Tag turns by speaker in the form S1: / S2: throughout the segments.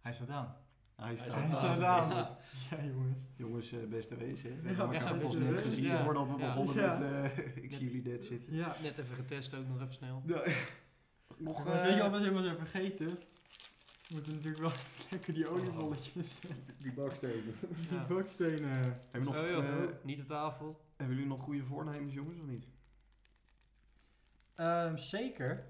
S1: Hij staat aan.
S2: Hij
S3: Hij
S2: staat,
S3: staat
S2: aan.
S3: aan.
S1: Ja.
S3: Ja, jongens.
S2: Jongens, eh, beste wezen. hè. We
S3: Ja,
S2: hebben elkaar
S1: ja,
S2: pas
S1: beste
S2: net
S1: wezen.
S2: gezien
S1: Ja.
S2: voordat we
S1: Ja.
S2: begonnen
S3: Ja.
S2: met eh, Ik zie jullie dead zitten.
S3: Ja.
S1: Net even getest ook nog even snel.
S2: Nog,
S3: Maar weet je
S2: eh,
S3: wat we helemaal zijn vergeten? We moeten natuurlijk wel lekker die oliebolletjes en
S2: die bakstenen.
S3: die bakstenen.
S2: Hebben, nog,
S1: Zo, Oh, joh.
S2: eh,
S1: Niet de tafel.
S2: hebben jullie nog goede voornemens, jongens, of niet?
S3: Ehm, zeker.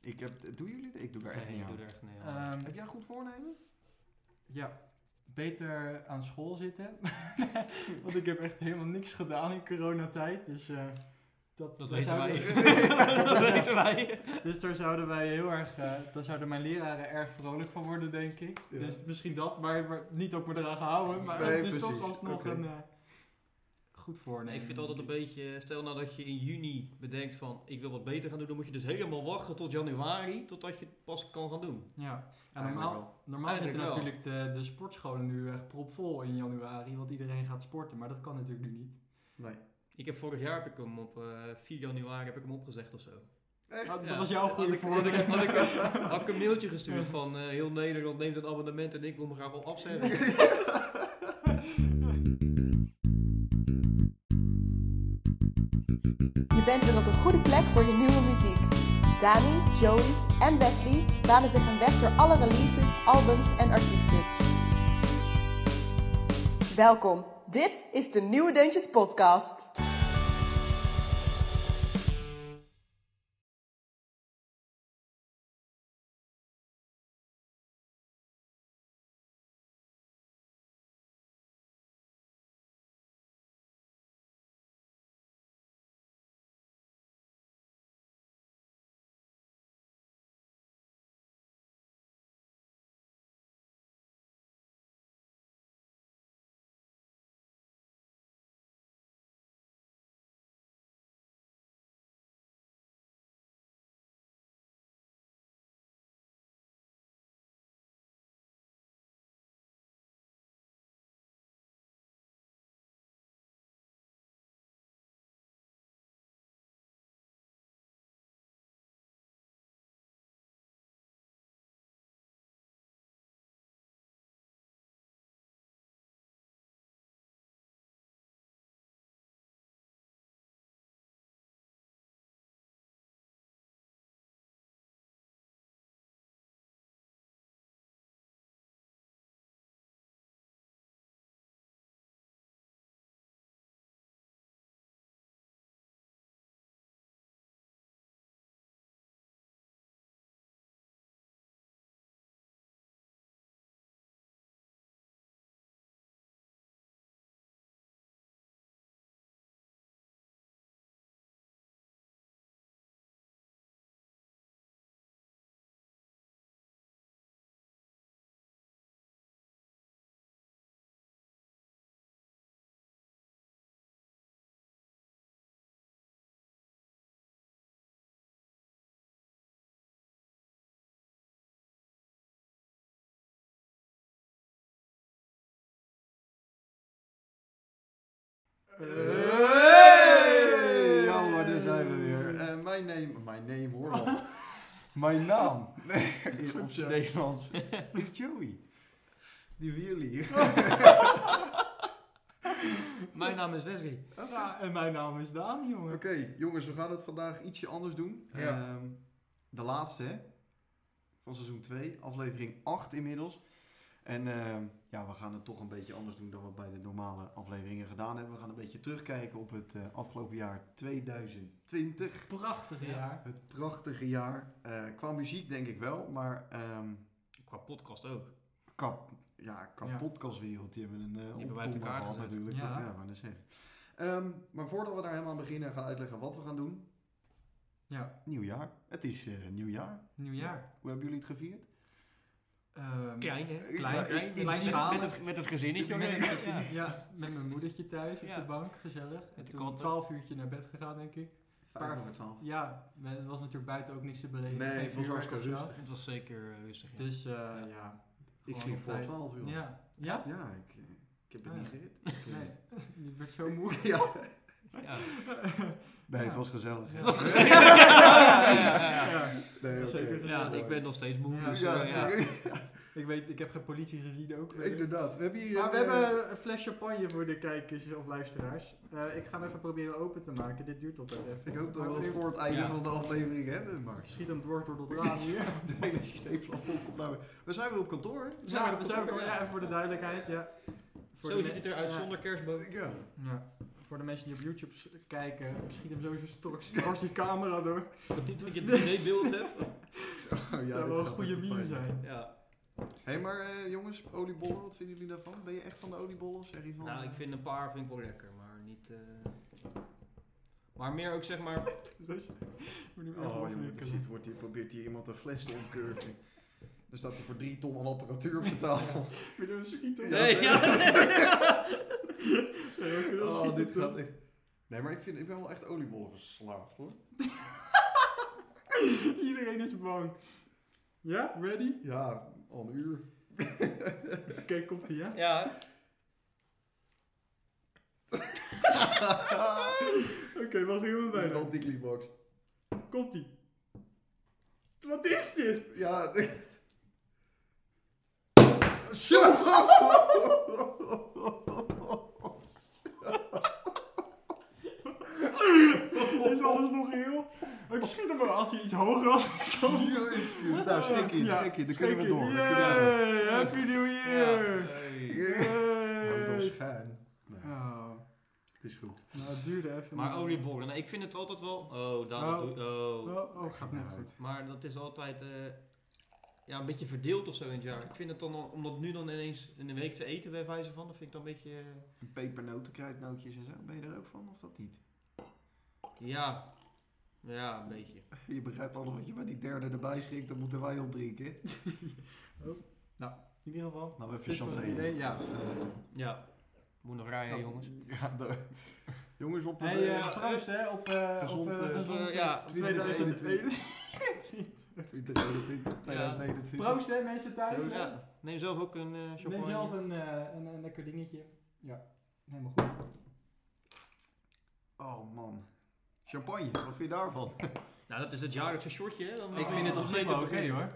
S2: Ik heb, doen jullie dit? Ik doe daar echt
S1: Nee,
S2: niet
S1: ik doe
S2: aan.
S1: er echt nee. aan.
S3: Ehm,
S2: Heb jij een goed voornemen?
S3: ja, beter aan school zitten. Want ik heb echt helemaal niks gedaan in coronatijd. Dus eh, dat,
S1: Dat
S3: daar
S1: weten wij.
S3: zouden-
S1: Dat weten wij.
S3: Dus daar zouden wij heel erg, eh, daar zouden mijn leraren erg vrolijk van worden, denk ik.
S2: Ja.
S3: Dus misschien dat, maar, maar niet ook me eraan gehouden. Maar
S2: Nee,
S3: het is
S2: precies.
S3: toch alsnog
S2: Oké.
S3: een eh, goed voornemen.
S1: Ik vind altijd een beetje, stel nou dat je in juni bedenkt van ik wil wat beter gaan doen, dan moet je dus helemaal wachten tot januari, totdat je het pas kan gaan doen.
S3: Ja, ja
S2: Eigenlijk
S3: normaal,
S2: wel.
S3: Normaal zitten
S1: Eigenlijk wel.
S3: natuurlijk de, de sportscholen nu echt propvol in januari, want iedereen gaat sporten, maar dat kan natuurlijk nu niet.
S2: Nee.
S1: Ik heb vorig jaar heb ik hem op eh 4 januari heb ik hem opgezegd of zo.
S2: Echt?
S3: Oh, dat
S1: Ja.
S3: was jouw
S1: Had
S3: goede
S1: ik- had ik- had
S3: voorbeeld.
S1: ik- Had ik een mailtje gestuurd van eh, heel Nederland neemt een abonnement en ik wil me graag wel afzetten.
S4: Je bent weer op een goede plek voor je nieuwe muziek. Dani, Jody en Wesley banen zich een weg door alle releases, albums en artiesten. Welkom, dit is de Nieuwe Deuntjes Podcast.
S2: Hey! Ja hoor, daar zijn we weer. Eh, mijn name, mijn name hoor al. mijn naam is op
S3: zo.
S2: zijn Nederlands is Joey. Die van jullie.
S1: Mijn naam is Wesley.
S3: Ja, en mijn naam is Daan, jongen.
S2: Oké, jongens, we gaan het vandaag ietsje anders doen.
S1: Ja.
S2: Ehm, de laatste, hè? Van seizoen 2, aflevering 8 inmiddels. En ehm, ja, we gaan het toch een beetje anders doen dan we bij de normale afleveringen gedaan hebben. We gaan een beetje terugkijken op het eh, afgelopen jaar 2020.
S3: Prachtig jaar.
S2: Het prachtige jaar. Eh, qua muziek denk ik wel, maar ehm
S1: Qua podcast ook.
S2: qua, ja, qua
S3: Ja.
S2: podcastwereld, die hebben een eh
S1: hebben wij uit
S2: opdonder
S1: elkaar
S2: gehad
S1: gezet.
S2: natuurlijk.
S3: Ja.
S2: Dat, ja, maar dat zeggen. Ehm, maar voordat we daar helemaal aan beginnen en gaan uitleggen wat we gaan doen.
S3: Ja,
S2: Nieuwjaar. Het is eh nieuwjaar.
S3: nieuw jaar.
S2: Hoe hebben jullie het gevierd?
S3: Ehm,
S1: Klein hè?
S3: Klein,
S2: klein,
S1: Met-
S3: kleinschalig.
S1: met, het, met het gezinnetje.
S3: met,
S1: hoor. Ja.
S3: ja, met mijn moedertje thuis op
S1: Ja.
S3: de bank, gezellig. En
S1: de
S3: toen om
S1: katten.
S3: twaalf uurtje naar bed gegaan, denk ik.
S2: Vijf
S3: Paar-
S2: over twaalf.
S3: Ja, maar het was natuurlijk buiten ook niks te beleven.
S2: Nee,
S3: geen
S2: het was
S3: vuurwerk
S2: hartstikke
S3: of zo.
S2: rustig.
S1: Het was zeker eh, rustig. ja.
S3: Dus eh, ja.
S2: Ik
S3: gewoon
S2: sliep
S3: op
S2: voor
S3: tijd.
S2: twaalf uur. Ja,
S3: Ja. Ja?
S2: ik, eh, ik eh, heb het
S3: Ah,
S2: niet
S3: ja.
S2: gered.
S3: Nee, je werd zo moe.
S2: ja.
S1: Ja.
S2: Nee, het
S3: Ja.
S2: was gezellig. hè?
S3: Ja.
S1: ja, ja, ja, ja.
S2: Nee,
S3: was
S2: oké.
S3: zeker
S1: Ja, ik ben nog steeds moe.
S3: Ja.
S1: Dus,
S2: Ja,
S1: eh, ja.
S2: ja.
S3: Ik weet, ik heb geen politie gezien ook.
S2: Inderdaad. We hebben hier
S3: Maar we
S2: een, eh,
S3: hebben een fles champagne voor de kijkers of luisteraars. Eh, ik ga hem even proberen open te maken. Dit duurt altijd even.
S2: Ik hoop dat
S3: Maar
S2: we dat
S3: ik-
S2: voor het einde
S1: Ja.
S2: van de aflevering hebben, Max.
S3: Schiet hem dwars door dat raam hier.
S2: De hele systeemplafond komt naar beneden. We zijn weer op kantoor, hè?
S1: zijn
S3: Ja,
S1: we-
S3: we zijn we- ja, even voor de duidelijkheid. Ja. Voor
S1: Zo
S3: de
S1: ziet
S3: me-
S1: het eruit
S3: ja.
S1: zonder kerstboom.
S2: Ja.
S3: Ja. Voor de mensen die op YouTube s- kijken, ik schiet hem sowieso straks dwars die camera
S2: Oh
S3: door.
S1: Dat niet wat je dvd-beeld hebt.
S3: Dat zou wel een goede meme zijn.
S1: Ja.
S2: Hé, hey, maar eh, jongens, oliebollen, wat vinden jullie daarvan? Ben je echt van de oliebollen of zeg je van... eh,
S1: Nou, ik vind een paar vind ik wel lekker, maar niet... eh, Maar meer ook zeg maar...
S3: Rustig. Ik Moet nu echt
S2: Oh, jongen,
S3: afwikkelen.
S2: shit, wordt hier, probeert hier iemand een fles te omkurken. Dan staat hij voor drie ton aan apparatuur op de tafel.
S3: Ik Moet hem schieten.
S2: Ja,
S1: Nee,
S2: dat-
S1: ja.
S3: Ja, ik wil wel
S2: Oh,
S3: schieten,
S2: dit gaat
S3: toch?
S2: echt... Nee, maar ik, vind, ik ben wel echt oliebollen verslaafd, hoor.
S3: Iedereen is bang. Ja, ready?
S2: Ja, al een uur.
S3: Oké, komt ie, ja?
S1: Ja.
S3: Oké, wacht even
S2: En
S3: bijna.
S2: dan die Gleebox.
S3: Komt ie. Wat is dit?
S2: Ja, echt. Zo!
S3: Is alles nog heel? Maar Ik schiet hem wel als hij iets hoger was.
S2: Nou, schrik in,
S3: Ja,
S2: schrik in. Dan kunnen we
S3: schrik
S2: door.
S3: in.
S2: Dan kunnen we door.
S3: Yay, happy new year!
S2: Nou, dat is
S3: Yay.
S2: schijn. Nee,
S3: Oh,
S2: het is goed.
S3: nou, het duurde even.
S1: Maar oliebollen, nou, ik vind het altijd wel... Oh, daar
S3: Oh.
S1: doe Oh.
S3: Oh, oh, gaat
S2: Nou,
S3: net goed.
S1: Maar dat is altijd eh, ja, een beetje verdeeld of zo in het jaar. Ik vind het dan, al- om dat nu dan ineens in een week te eten bij wijze van, dat vind ik dan een beetje... eh,
S2: En Pepernoten, kruidnootjes en zo. Ben je er ook van of dat niet?
S1: ja, ja, een beetje.
S2: Je begrijpt alles wat je met die derde erbij schrikt. Dan moeten wij opdrinken. hè?
S3: In ieder geval.
S2: Nou, even
S3: dit was het idee,
S2: champagne.
S3: ja.
S1: Ja, moet nog rijden,
S2: Nou,
S1: jongens.
S2: Ja, daar- jongens, op
S3: Hey,
S2: de-
S3: eh, proost hè, op, eh
S2: gezond,
S3: op eh,
S2: eh,
S3: gezond,
S1: op, eh,
S3: eh,
S1: ja,
S3: 2021.
S2: oh, 2021, 2021.
S3: Proost hè, mensen thuis.
S1: Ja,
S3: hè.
S1: neem zelf ook een eh champagne.
S3: Neem zelf een, eh, een, een lekker dingetje. Ja, helemaal goed.
S2: Oh man. Champagne, wat vind je daarvan?
S1: Nou, dat is het jaarlijkse shortje, hè. Dan
S3: Ik vind het op zich wel oké, hoor.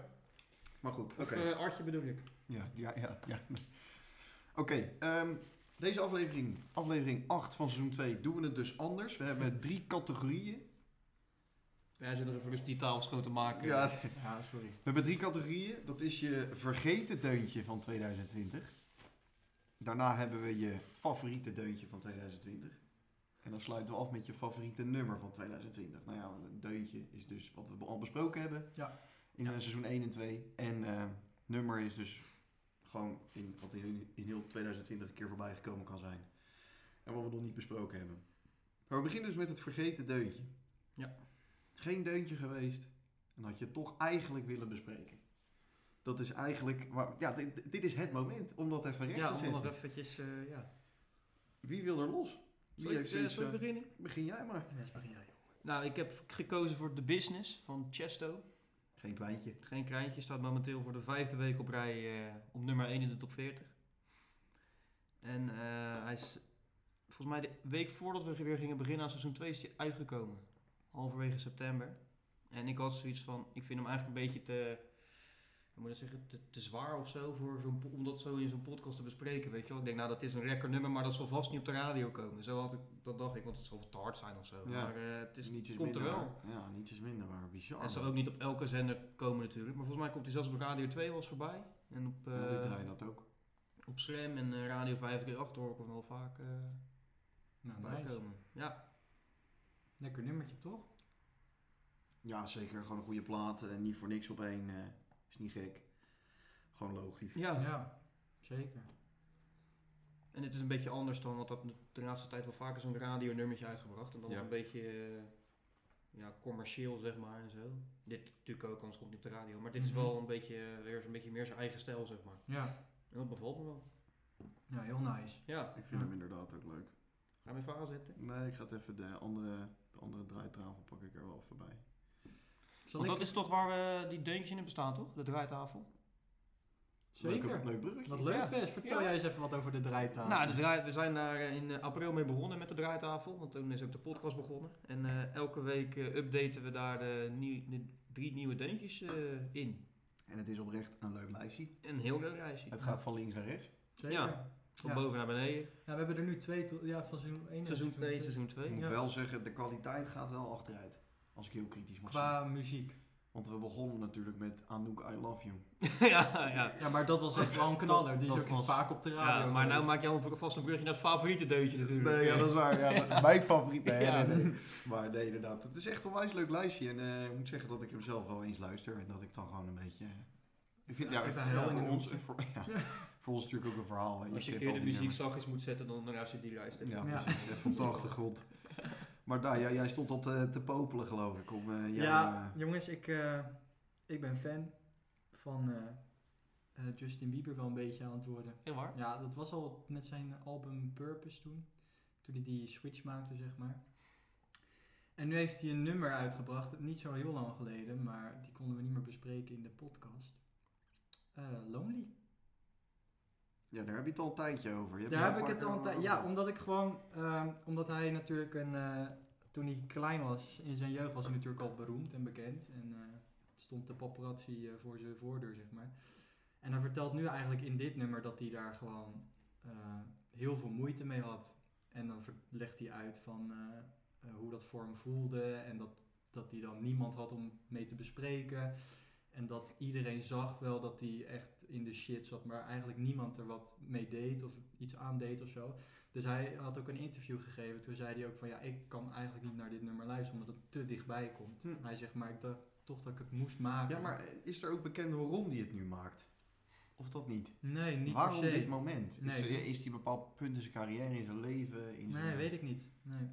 S2: Maar goed, oké.
S1: Of eh, Artje bedoel ik.
S2: Ja, ja, ja. ja. Oké, ehm, deze aflevering, aflevering 8 van seizoen 2, doen we het dus anders. We hebben drie categorieën.
S1: Wij zijn er even rustig die tafels schoon te maken.
S2: Ja, we
S3: Ja, sorry.
S2: hebben drie categorieën. Dat is je vergeten deuntje van 2020. Daarna hebben we je favoriete deuntje van 2020. En dan sluiten we af met je favoriete nummer van 2020. Nou ja, een deuntje is dus wat we al besproken hebben
S3: Ja.
S2: in eh, seizoen 1 en 2. En eh, nummer is dus gewoon in, wat in, in heel 2020 een keer voorbij gekomen kan zijn. En wat we nog niet besproken hebben. Maar we beginnen dus met het vergeten deuntje.
S1: Ja.
S2: Geen deuntje geweest en had je het toch eigenlijk willen bespreken. Dat is eigenlijk, waar, ja, dit, dit is het moment om dat even recht
S1: Ja,
S2: te
S1: om nog
S2: zetten.
S1: eventjes, eh, ja.
S2: Wie wil er los? Wie
S1: Zal ik,
S2: heeft
S1: eh,
S2: zoiets,
S1: zal ik
S2: eh,
S1: beginnen?
S2: begin jij maar.
S1: Nou, ik heb gekozen voor The Business van Chesto.
S2: Geen kleintje.
S1: Geen kleintje, staat momenteel voor de vijfde week op rij eh, op nummer 1 in de top 40. En eh, hij is volgens mij de week voordat we weer gingen beginnen aan seizoen 2 is hij uitgekomen. Halverwege september. En ik had zoiets van, ik vind hem eigenlijk een beetje te, hoe moet ik dat zeggen, te, te zwaar of zo voor zo'n, po- om dat zo in zo'n podcast te bespreken. Weet je wel? Ik denk, nou dat is een lekker nummer, maar dat zal vast niet op de radio komen. Zo had ik, dat dacht ik, want het zal te hard zijn of zo.
S2: Ja.
S1: Maar eh, het is,
S2: niets is
S1: komt er
S2: minder
S1: wel.
S2: waar. Ja, niets is minder waar. Bizar.
S1: Het zal ook niet op elke zender komen natuurlijk. Maar volgens mij komt hij zelfs op Radio 2 wel eens voorbij. En op, eh,
S2: Ja, die draaien dat ook.
S1: op Slam en eh, Radio 538 hoor ik hem wel vaak eh
S3: Nou,
S1: voorbij
S3: nice.
S1: komen. Ja,
S3: Lekker nummertje, toch?
S2: Ja, zeker. Gewoon een goede plaat. En niet voor niks op één. eh, is niet gek. Gewoon logisch.
S1: ja.
S3: Ja, zeker.
S1: en het is een beetje anders dan, want dat de laatste tijd wel vaker zo'n radionummertje uitgebracht. En dan
S2: Ja.
S1: een beetje eh, ja, commercieel zeg maar en zo. Dit natuurlijk ook, anders komt hij op de radio. Maar dit
S3: Mhm.
S1: is wel een beetje, eh, weer een beetje meer zijn eigen stijl zeg maar.
S3: Ja,
S1: En dat bevalt me wel.
S3: ja heel nice.
S1: Ja,
S2: Ik vind
S3: Ja.
S2: hem inderdaad ook leuk.
S1: ga hem even aanzetten.
S2: Nee, ik ga het even de andere, de andere draaitafel pak ik er wel even bij.
S3: Zal
S1: Want dat
S3: ik-
S1: is toch waar eh, die deuntjes in bestaan toch? De draaitafel?
S3: Zeker.
S2: Leuk, leuk bruggetje.
S3: Wat leuk
S1: Ja.
S3: Wes. Vertel
S1: Ja.
S3: jij eens even wat over de draaitafel.
S1: Nou, de draai, we zijn daar eh, in eh, april mee begonnen met de draaitafel, want toen is ook de podcast begonnen. En eh, elke week eh, updaten we daar de, nieuw- de drie nieuwe deuntjes eh, in.
S2: En het is oprecht een leuk lijstje.
S1: Een heel leuk reisje.
S2: Het gaat van links naar rechts.
S3: Zeker.
S1: Ja. Van
S3: Ja.
S1: boven naar beneden.
S3: Ja, we hebben er nu twee, to- ja, van seizoen 1
S1: Seizoen 1, seizoen
S2: Ik
S1: 2.
S2: moet
S3: Ja.
S2: wel zeggen, de kwaliteit gaat wel achteruit. Als ik heel kritisch mag zijn.
S3: Qua muziek.
S2: Want we begonnen natuurlijk met Anouk, I Love You.
S1: ja, ja.
S3: Ja, maar dat was echt wel een knaller. Die
S2: dat
S3: is ook
S2: was-
S3: vaak op de radio.
S1: ja, maar nou
S3: geweest.
S1: maak je al vast een brugje naar het favoriete deuntje natuurlijk.
S2: Nee, ja, dat is waar. Ja, Mijn favoriet. Nee,
S1: Ja.
S2: nee, nee. Maar nee, inderdaad. Het is echt een onwijs leuk lijstje. En eh, ik moet zeggen dat ik hem zelf wel eens luister. En dat ik dan gewoon een beetje... eh, Ik vind, ja,
S3: Ja, even
S2: ja,
S3: heel in
S2: voor,
S3: een
S2: ons, eh,
S3: hoekje.
S2: voor, ja, voor ons natuurlijk ook een verhaal. hè.
S1: Als je een
S2: kent
S1: keer
S2: al
S1: de
S2: die
S1: muziek
S2: nummers.
S1: zachtjes moet zetten, dan, dan luister je die luister.
S2: Ja,
S3: Ja.
S2: precies. Even op de achtergrond. Maar daar, jij, jij stond al te, te popelen geloof ik. Om, eh,
S3: Ja,
S2: jou, eh,
S3: jongens, ik, eh, ik ben fan van eh, eh, Justin Bieber wel een beetje aan het worden.
S1: Heel waar.
S3: Ja, dat was al met zijn album Purpose toen. Toen hij die switch maakte, zeg maar. En nu heeft hij een nummer uitgebracht, niet zo heel lang geleden, maar die konden we niet meer bespreken in de podcast. Eh, Lonely.
S2: ja, daar heb je het al een tijdje over. Je hebt
S3: Daar
S2: er
S3: heb
S2: een
S3: ik
S2: paar
S3: het
S2: keer eh,
S3: al een
S2: over
S3: tijd. Ja,
S2: gehad.
S3: omdat ik gewoon. ehm, omdat hij natuurlijk een. eh, toen hij klein was, in zijn jeugd was hij natuurlijk al beroemd en bekend. En eh, stond de paparazzi eh, voor zijn voordeur, zeg maar. En hij vertelt nu eigenlijk in dit nummer dat hij daar gewoon eh, heel veel moeite mee had. En dan ver- legt hij uit van eh, eh, hoe dat voor hem voelde. En dat, dat hij dan niemand had om mee te bespreken. En dat iedereen zag wel dat hij echt in de shit zat, maar eigenlijk niemand er wat mee deed of iets aan deed of zo. Dus hij had ook een interview gegeven. Toen zei hij ook van ja, ik kan eigenlijk niet naar dit nummer luisteren omdat het te dichtbij komt.
S2: Hm.
S3: Hij zegt maar ik dacht toch dat ik het moest maken.
S2: Ja, maar eh, is er ook bekend waarom die het nu maakt? Of dat niet?
S3: nee, niet
S2: waarom
S3: per se.
S2: dit moment?
S3: Nee.
S2: Is, is die bepaald punt in zijn carrière, in zijn leven? In zijn...
S3: nee, weet ik niet. Nee.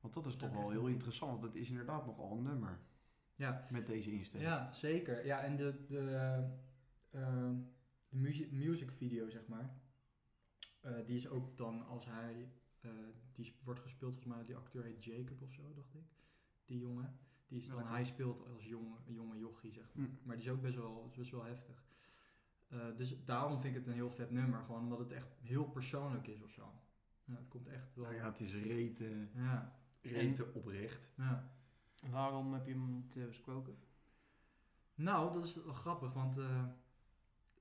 S2: Want dat is toch
S3: Dat
S2: wel
S3: echt
S2: heel
S3: niet.
S2: interessant, want het is inderdaad nogal een nummer
S3: Ja,
S2: met deze insteek.
S3: Ja, zeker. Ja, en de, de, ehm, de music, music video, zeg maar. eh, die is ook dan als hij. eh, die is- wordt gespeeld, volgens mij, die acteur heet Jacob of zo, dacht ik. Die jongen. Die is dan,
S2: Welke?
S3: hij speelt als jonge, jonge jochie, zeg maar.
S2: Mm.
S3: Maar die is ook best wel, is best wel heftig. Eh, dus daarom vind ik het een heel vet nummer. Gewoon omdat het echt heel persoonlijk is of zo. Ja, het komt echt wel.
S2: Nou ja, het is rete,
S3: ja,
S2: rete oprecht.
S3: ja.
S1: Waarom heb je hem te besproken?
S3: Nou, dat is wel grappig, want eh,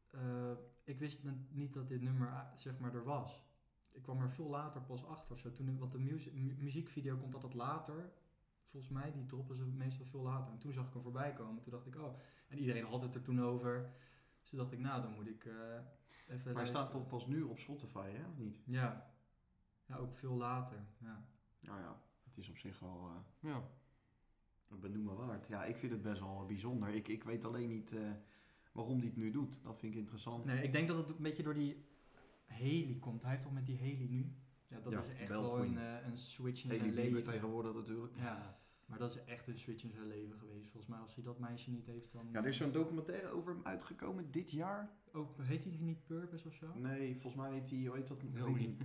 S3: eh, ik wist n- niet dat dit nummer eh, zeg maar er was. Ik kwam er veel later pas achter. of Zo, toen, want de muzie- mu- muziekvideo komt altijd later. Volgens mij, die droppen ze meestal veel later. En toen zag ik hem voorbij komen. Toen dacht ik, oh. En iedereen had het er toen over. Dus toen dacht ik, nou, dan moet ik eh, even...
S2: Maar hij staat
S3: luisteren.
S2: toch pas nu op Spotify, hè? Of niet?
S3: Ja. Ja, ook veel later. Ja.
S2: Nou ja, het is op zich wel eh
S1: Ja.
S2: benoemen waard. Ja, ik vind het best wel bijzonder. Ik, ik weet alleen niet eh, waarom die het nu doet. Dat vind ik interessant.
S3: Nee, ik denk dat het een beetje door die Haley komt. Hij heeft toch met die Haley nu? Ja, dat
S2: Ja,
S3: is echt
S2: wel
S3: wel
S2: Queen.
S3: een, eh, een switch in
S2: Haley
S3: zijn
S2: Bieber
S3: leven.
S2: tegenwoordig natuurlijk.
S3: Ja, maar dat is echt een switch in zijn leven geweest. Volgens mij, als hij dat meisje niet heeft, dan...
S2: Ja, er is zo'n documentaire over hem uitgekomen dit jaar.
S3: Ook, Oh, heet hij niet Purpose of zo?
S2: Nee, volgens mij heet hij, hoe heet dat? Hoe heet
S1: Lonely.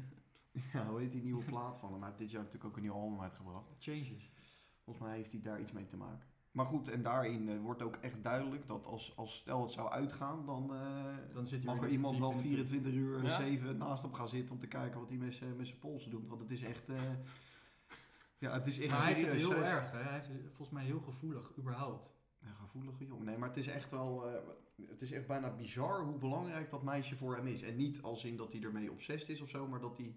S2: die, ja, hoe heet die nieuwe plaat van hem? Hij heeft dit jaar natuurlijk ook een nieuw album uitgebracht.
S3: Changes.
S2: Volgens mij heeft hij daar iets mee te maken. Maar goed, en daarin eh, wordt ook echt duidelijk dat als, als stel het zou uitgaan, dan, eh,
S3: Dan zit hij
S2: mag
S3: weer
S2: er
S3: diep
S2: iemand
S3: in
S2: wel
S3: de put.
S2: 24 uur
S1: Ja.
S2: 7 naast hem gaan zitten om te kijken wat hij met zijn met zijn polsen doet. Want het is echt. eh, ja, het is echt
S3: maar hij heeft het
S2: serieus.
S3: heel
S2: Zij is
S3: erg, hè? Hij heeft het volgens mij heel gevoelig, überhaupt.
S2: Een gevoelige jongen. Nee, maar het is echt wel. eh, het is echt bijna bizar hoe belangrijk dat meisje voor hem is. En niet als in dat hij ermee obsessed is of zo, maar dat hij.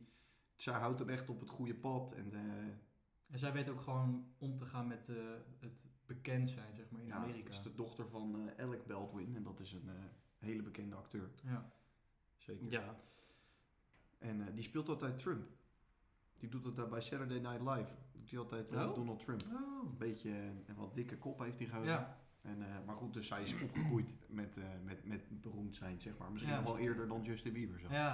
S2: Zij houdt hem echt op het goede pad. En eh,
S3: En zij weet ook gewoon om te gaan met eh, het bekend zijn, zeg maar, in
S2: ja,
S3: Amerika.
S2: het is de dochter van eh, Alec Baldwin. En dat is een eh, hele bekende acteur.
S3: Ja.
S2: Zeker.
S1: Ja.
S2: En eh, die speelt altijd Trump. Die doet altijd bij Saturday Night Live. Doet hij altijd eh,
S1: Oh.
S2: Donald Trump.
S3: Oh.
S2: Een beetje eh, een wat dikke kop heeft hij gehouden.
S3: Ja,
S2: En, eh, maar goed, dus zij is opgegroeid met, eh, met, met beroemd zijn, zeg maar. Misschien
S3: Ja.
S2: nog wel eerder dan Justin Bieber. Zo.
S3: ja.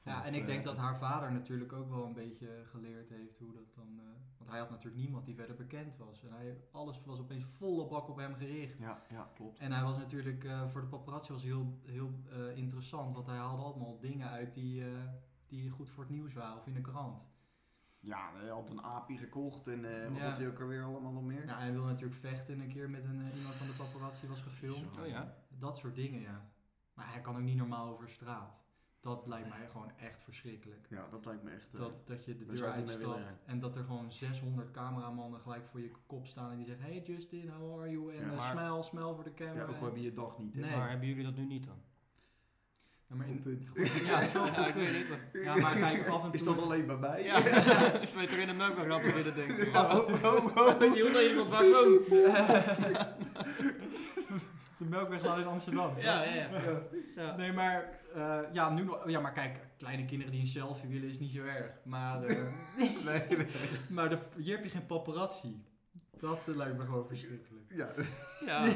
S2: Vanaf,
S3: Ja, en ik denk
S2: eh,
S3: dat haar vader natuurlijk ook wel een beetje geleerd heeft hoe dat dan... eh, want hij had natuurlijk niemand die verder bekend was. En hij, alles was opeens volle bak op hem gericht.
S2: Ja, ja, klopt.
S3: En hij was natuurlijk, eh, voor de paparazzi was hij heel, heel eh, interessant, want hij haalde allemaal dingen uit die, eh, die goed voor het nieuws waren of in de krant.
S2: Ja, hij had een aapje gekocht en eh, wat
S3: Ja.
S2: had hij ook alweer allemaal nog meer?
S3: Nou, hij wil natuurlijk vechten een keer met een, eh, iemand van de paparazzi was gefilmd.
S2: Zo.
S1: Oh ja.
S3: Dat soort dingen, ja. Maar hij kan ook niet normaal over straat. Dat lijkt mij gewoon echt verschrikkelijk.
S2: Ja, dat lijkt me echt... eh,
S3: Dat, dat je de
S2: Daar
S3: deur
S2: zou ik niet mee willen
S3: uitstapt en dat er gewoon 600 cameramannen gelijk voor je kop staan en die zeggen: Hey Justin, how are you? En
S2: Ja,
S3: eh,
S1: maar-
S3: smile, smile voor de camera.
S2: ja, ook al heb je je dag niet, hè.
S3: Nee.
S1: Maar hebben jullie dat nu niet dan?
S3: Ja, maar
S2: Goed
S3: in-
S2: punt.
S3: Ja, dat is wel een goed
S1: ik weet
S3: punt.
S1: het. maar-
S3: Ja, maar kijk, af en
S2: Is
S3: toe-
S2: dat alleen bij mij?
S1: Ja, ik zweet er in de melkweg dat we willen denken.
S2: Oh,
S1: Ja.
S2: oh, oh.
S1: Weet je hoe dat je iemand waar woont?
S3: de melkweg laat in Amsterdam.
S1: Ja, ja, ja. ja.
S3: Nee, maar, eh, ja, nu, nog- ja, maar kijk, kleine kinderen die een selfie willen is niet zo erg. Maar, eh,
S2: Nee, nee.
S3: maar de, hier heb je geen paparazzi. Dat eh, lijkt me gewoon verschrikkelijk.
S2: Ja,
S1: Ja.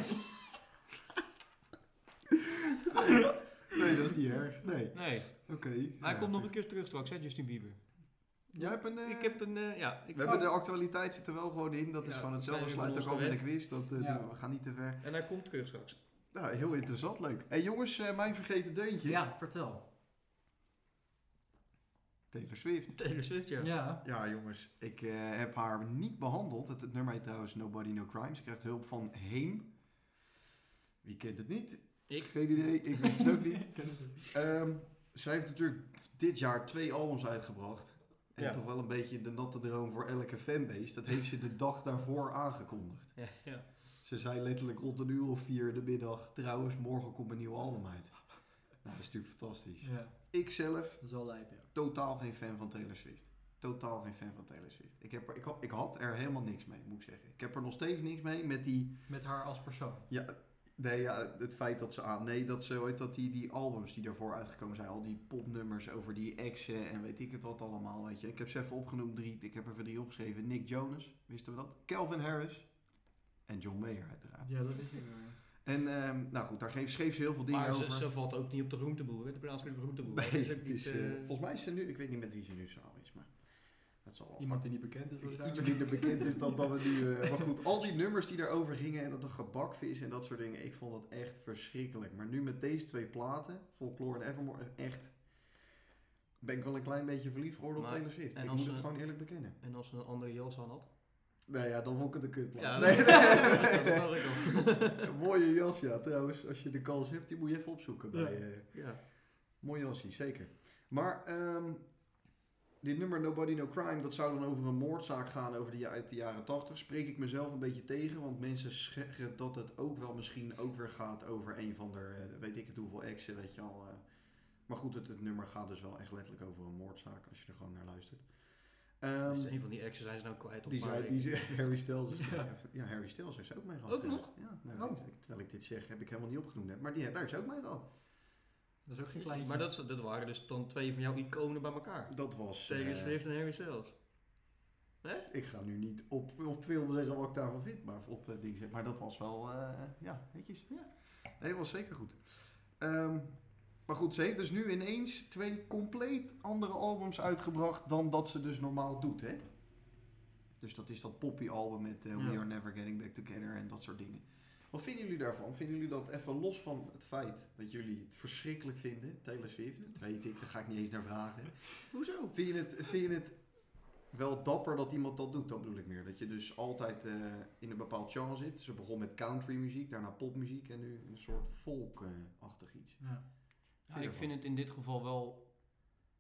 S2: nee, dat is niet erg. Nee,
S1: Nee.
S2: oké.
S1: Maar hij
S2: Ja.
S1: komt nog een keer terug straks, hè, Justin Bieber.
S2: Jij hebt een... eh,
S1: Ik heb een, eh, ja. Ik
S2: We hebben de actualiteit zit er wel gewoon in. Dat is
S1: Ja,
S2: gewoon
S1: we
S2: hetzelfde.
S1: zijn weer
S2: Sluit ook al met de
S1: gewend.
S2: quiz. Dat, eh,
S3: Ja.
S2: doen we. we gaan niet te ver.
S1: En hij komt terug straks.
S2: Nou, heel interessant. Leuk. hey, jongens, eh, mijn vergeten deuntje.
S3: Ja, vertel.
S2: Taylor Swift.
S1: Taylor Swift, ja.
S3: Ja.
S2: Ja, jongens. Ik eh, heb haar niet behandeld. Het, het nummer heet trouwens Nobody No Crime. Ze krijgt hulp van Heem. Wie kent het niet?
S1: Ik.
S2: Geen idee. Ik wist het ook niet.
S3: Ik ken het ook.
S2: Ehm, zij heeft natuurlijk dit jaar twee albums uitgebracht. En
S1: Ja.
S2: toch wel een beetje de natte droom voor elke fanbase. Dat heeft ze de dag daarvoor aangekondigd.
S1: Ja, ja.
S2: Ze zei letterlijk rond een uur of vier de middag. Trouwens, morgen komt een nieuw album uit. Nou, dat is natuurlijk fantastisch.
S3: Ja,
S2: Ik zelf,
S3: dat is wel lijp, ja.
S2: totaal geen fan van Taylor Swift. Totaal geen fan van Taylor Swift. Ik, heb er, ik, had, ik had er helemaal niks mee, moet ik zeggen. Ik heb er nog steeds niks mee met die...
S3: Met haar als persoon.
S2: Ja, nee, ja, het feit dat ze aan... Nee, dat ze ooit dat die, die albums die daarvoor uitgekomen zijn. Al die popnummers over die exen en weet ik het wat allemaal, weet je. Ik heb ze even opgenoemd, drie. Ik heb er voor drie opgeschreven. Nick Jonas, wisten we dat? Calvin Harris. En John Mayer, uiteraard.
S3: Ja, dat is eh, het.
S2: En ehm, nou goed, daar geef- schreef ze heel veel dingen
S1: Maar ze,
S2: over.
S1: ze valt ook niet op de groenteboer, hè, de plaatselijke groenteboer.
S2: Nee,
S1: Dat is ook
S2: het
S1: niet,
S2: is,
S1: eh,
S2: eh, volgens mij is ze nu, ik weet niet met wie ze nu samen is, maar dat zal wel.
S3: Iemand die niet bekend is,
S2: iets
S3: waarschijnlijk.
S2: minder bekend is dan dat we nu. eh, maar goed, al die nummers die daarover gingen en dat de gebakvis en dat soort dingen, ik vond het echt verschrikkelijk. Maar nu met deze twee platen, Folklore en Evermore, echt. Ben ik wel een klein beetje verliefd geworden op
S1: Maar-
S2: Taylor Swift.
S1: en
S2: Ik
S1: als
S2: moet het
S1: ze-
S2: gewoon eerlijk bekennen.
S1: En als ze een andere jas aan had?
S2: Nou ja, dan vond ik het een kutplaat.
S1: Ja,
S2: Nee,
S1: dat- dat
S2: nee,
S1: hoor ik al.
S2: nee. Mooie jas, ja. Trouwens, als je de kans hebt, die moet je even opzoeken
S3: Ja.
S2: bij, eh,
S1: Ja.
S2: Mooi jassie, zeker. Maar ehm, dit nummer Nobody No Crime, dat zou dan over een moordzaak gaan over de, ja- uit de jaren 80. Spreek ik mezelf een beetje tegen, want mensen scheren dat het ook wel misschien ook weer gaat over een van de, eh, weet ik het hoeveel exen, weet je al. eh. Maar goed, het, het nummer gaat dus wel echt letterlijk over een moordzaak, als je er gewoon naar luistert. Ehm,
S1: Dus een van die exen zijn ze nou kwijt op
S2: die
S1: maar
S2: zei, die zei- Harry Styles. Is
S3: Ja.
S2: ja, Harry Styles heeft ze ook mee gehad.
S1: Ook nog?
S2: Ja, nou,
S3: Oh.
S2: dit- terwijl ik dit zeg, heb ik helemaal niet opgenoemd. hè. Maar die, daar heeft ze ook mee gehad.
S3: Dat is ook geen klein.
S1: Maar dat, dat waren dus dan twee van jouw iconen bij elkaar.
S2: Dat was...
S1: Taylor
S2: eh,
S1: Swift en Harry Styles.
S2: Ik ga nu niet op, op film zeggen wat ik daarvan vind, maar op eh, dingen zeggen. Maar dat was wel, eh, ja, netjes.
S1: Ja.
S2: Nee, dat was zeker goed. Ehm, maar goed, ze heeft dus nu ineens twee compleet andere albums uitgebracht dan dat ze dus normaal doet, hè? Dus dat is dat poppy-album met eh, We
S1: Ja.
S2: Are Never Getting Back Together en dat soort dingen. Wat vinden jullie daarvan? Vinden jullie dat even los van het feit dat jullie het verschrikkelijk vinden, Taylor Swift? Dat weet ik, daar ga ik niet eens naar vragen.
S1: Hoezo?
S2: Vind je, het, vind je het wel dapper dat iemand dat doet? Dat bedoel ik meer. Dat je dus altijd eh, in een bepaald genre zit. Ze begon met country muziek, daarna popmuziek en nu een soort folk-achtig iets.
S3: Ja.
S1: Ja, ik vind het in dit geval wel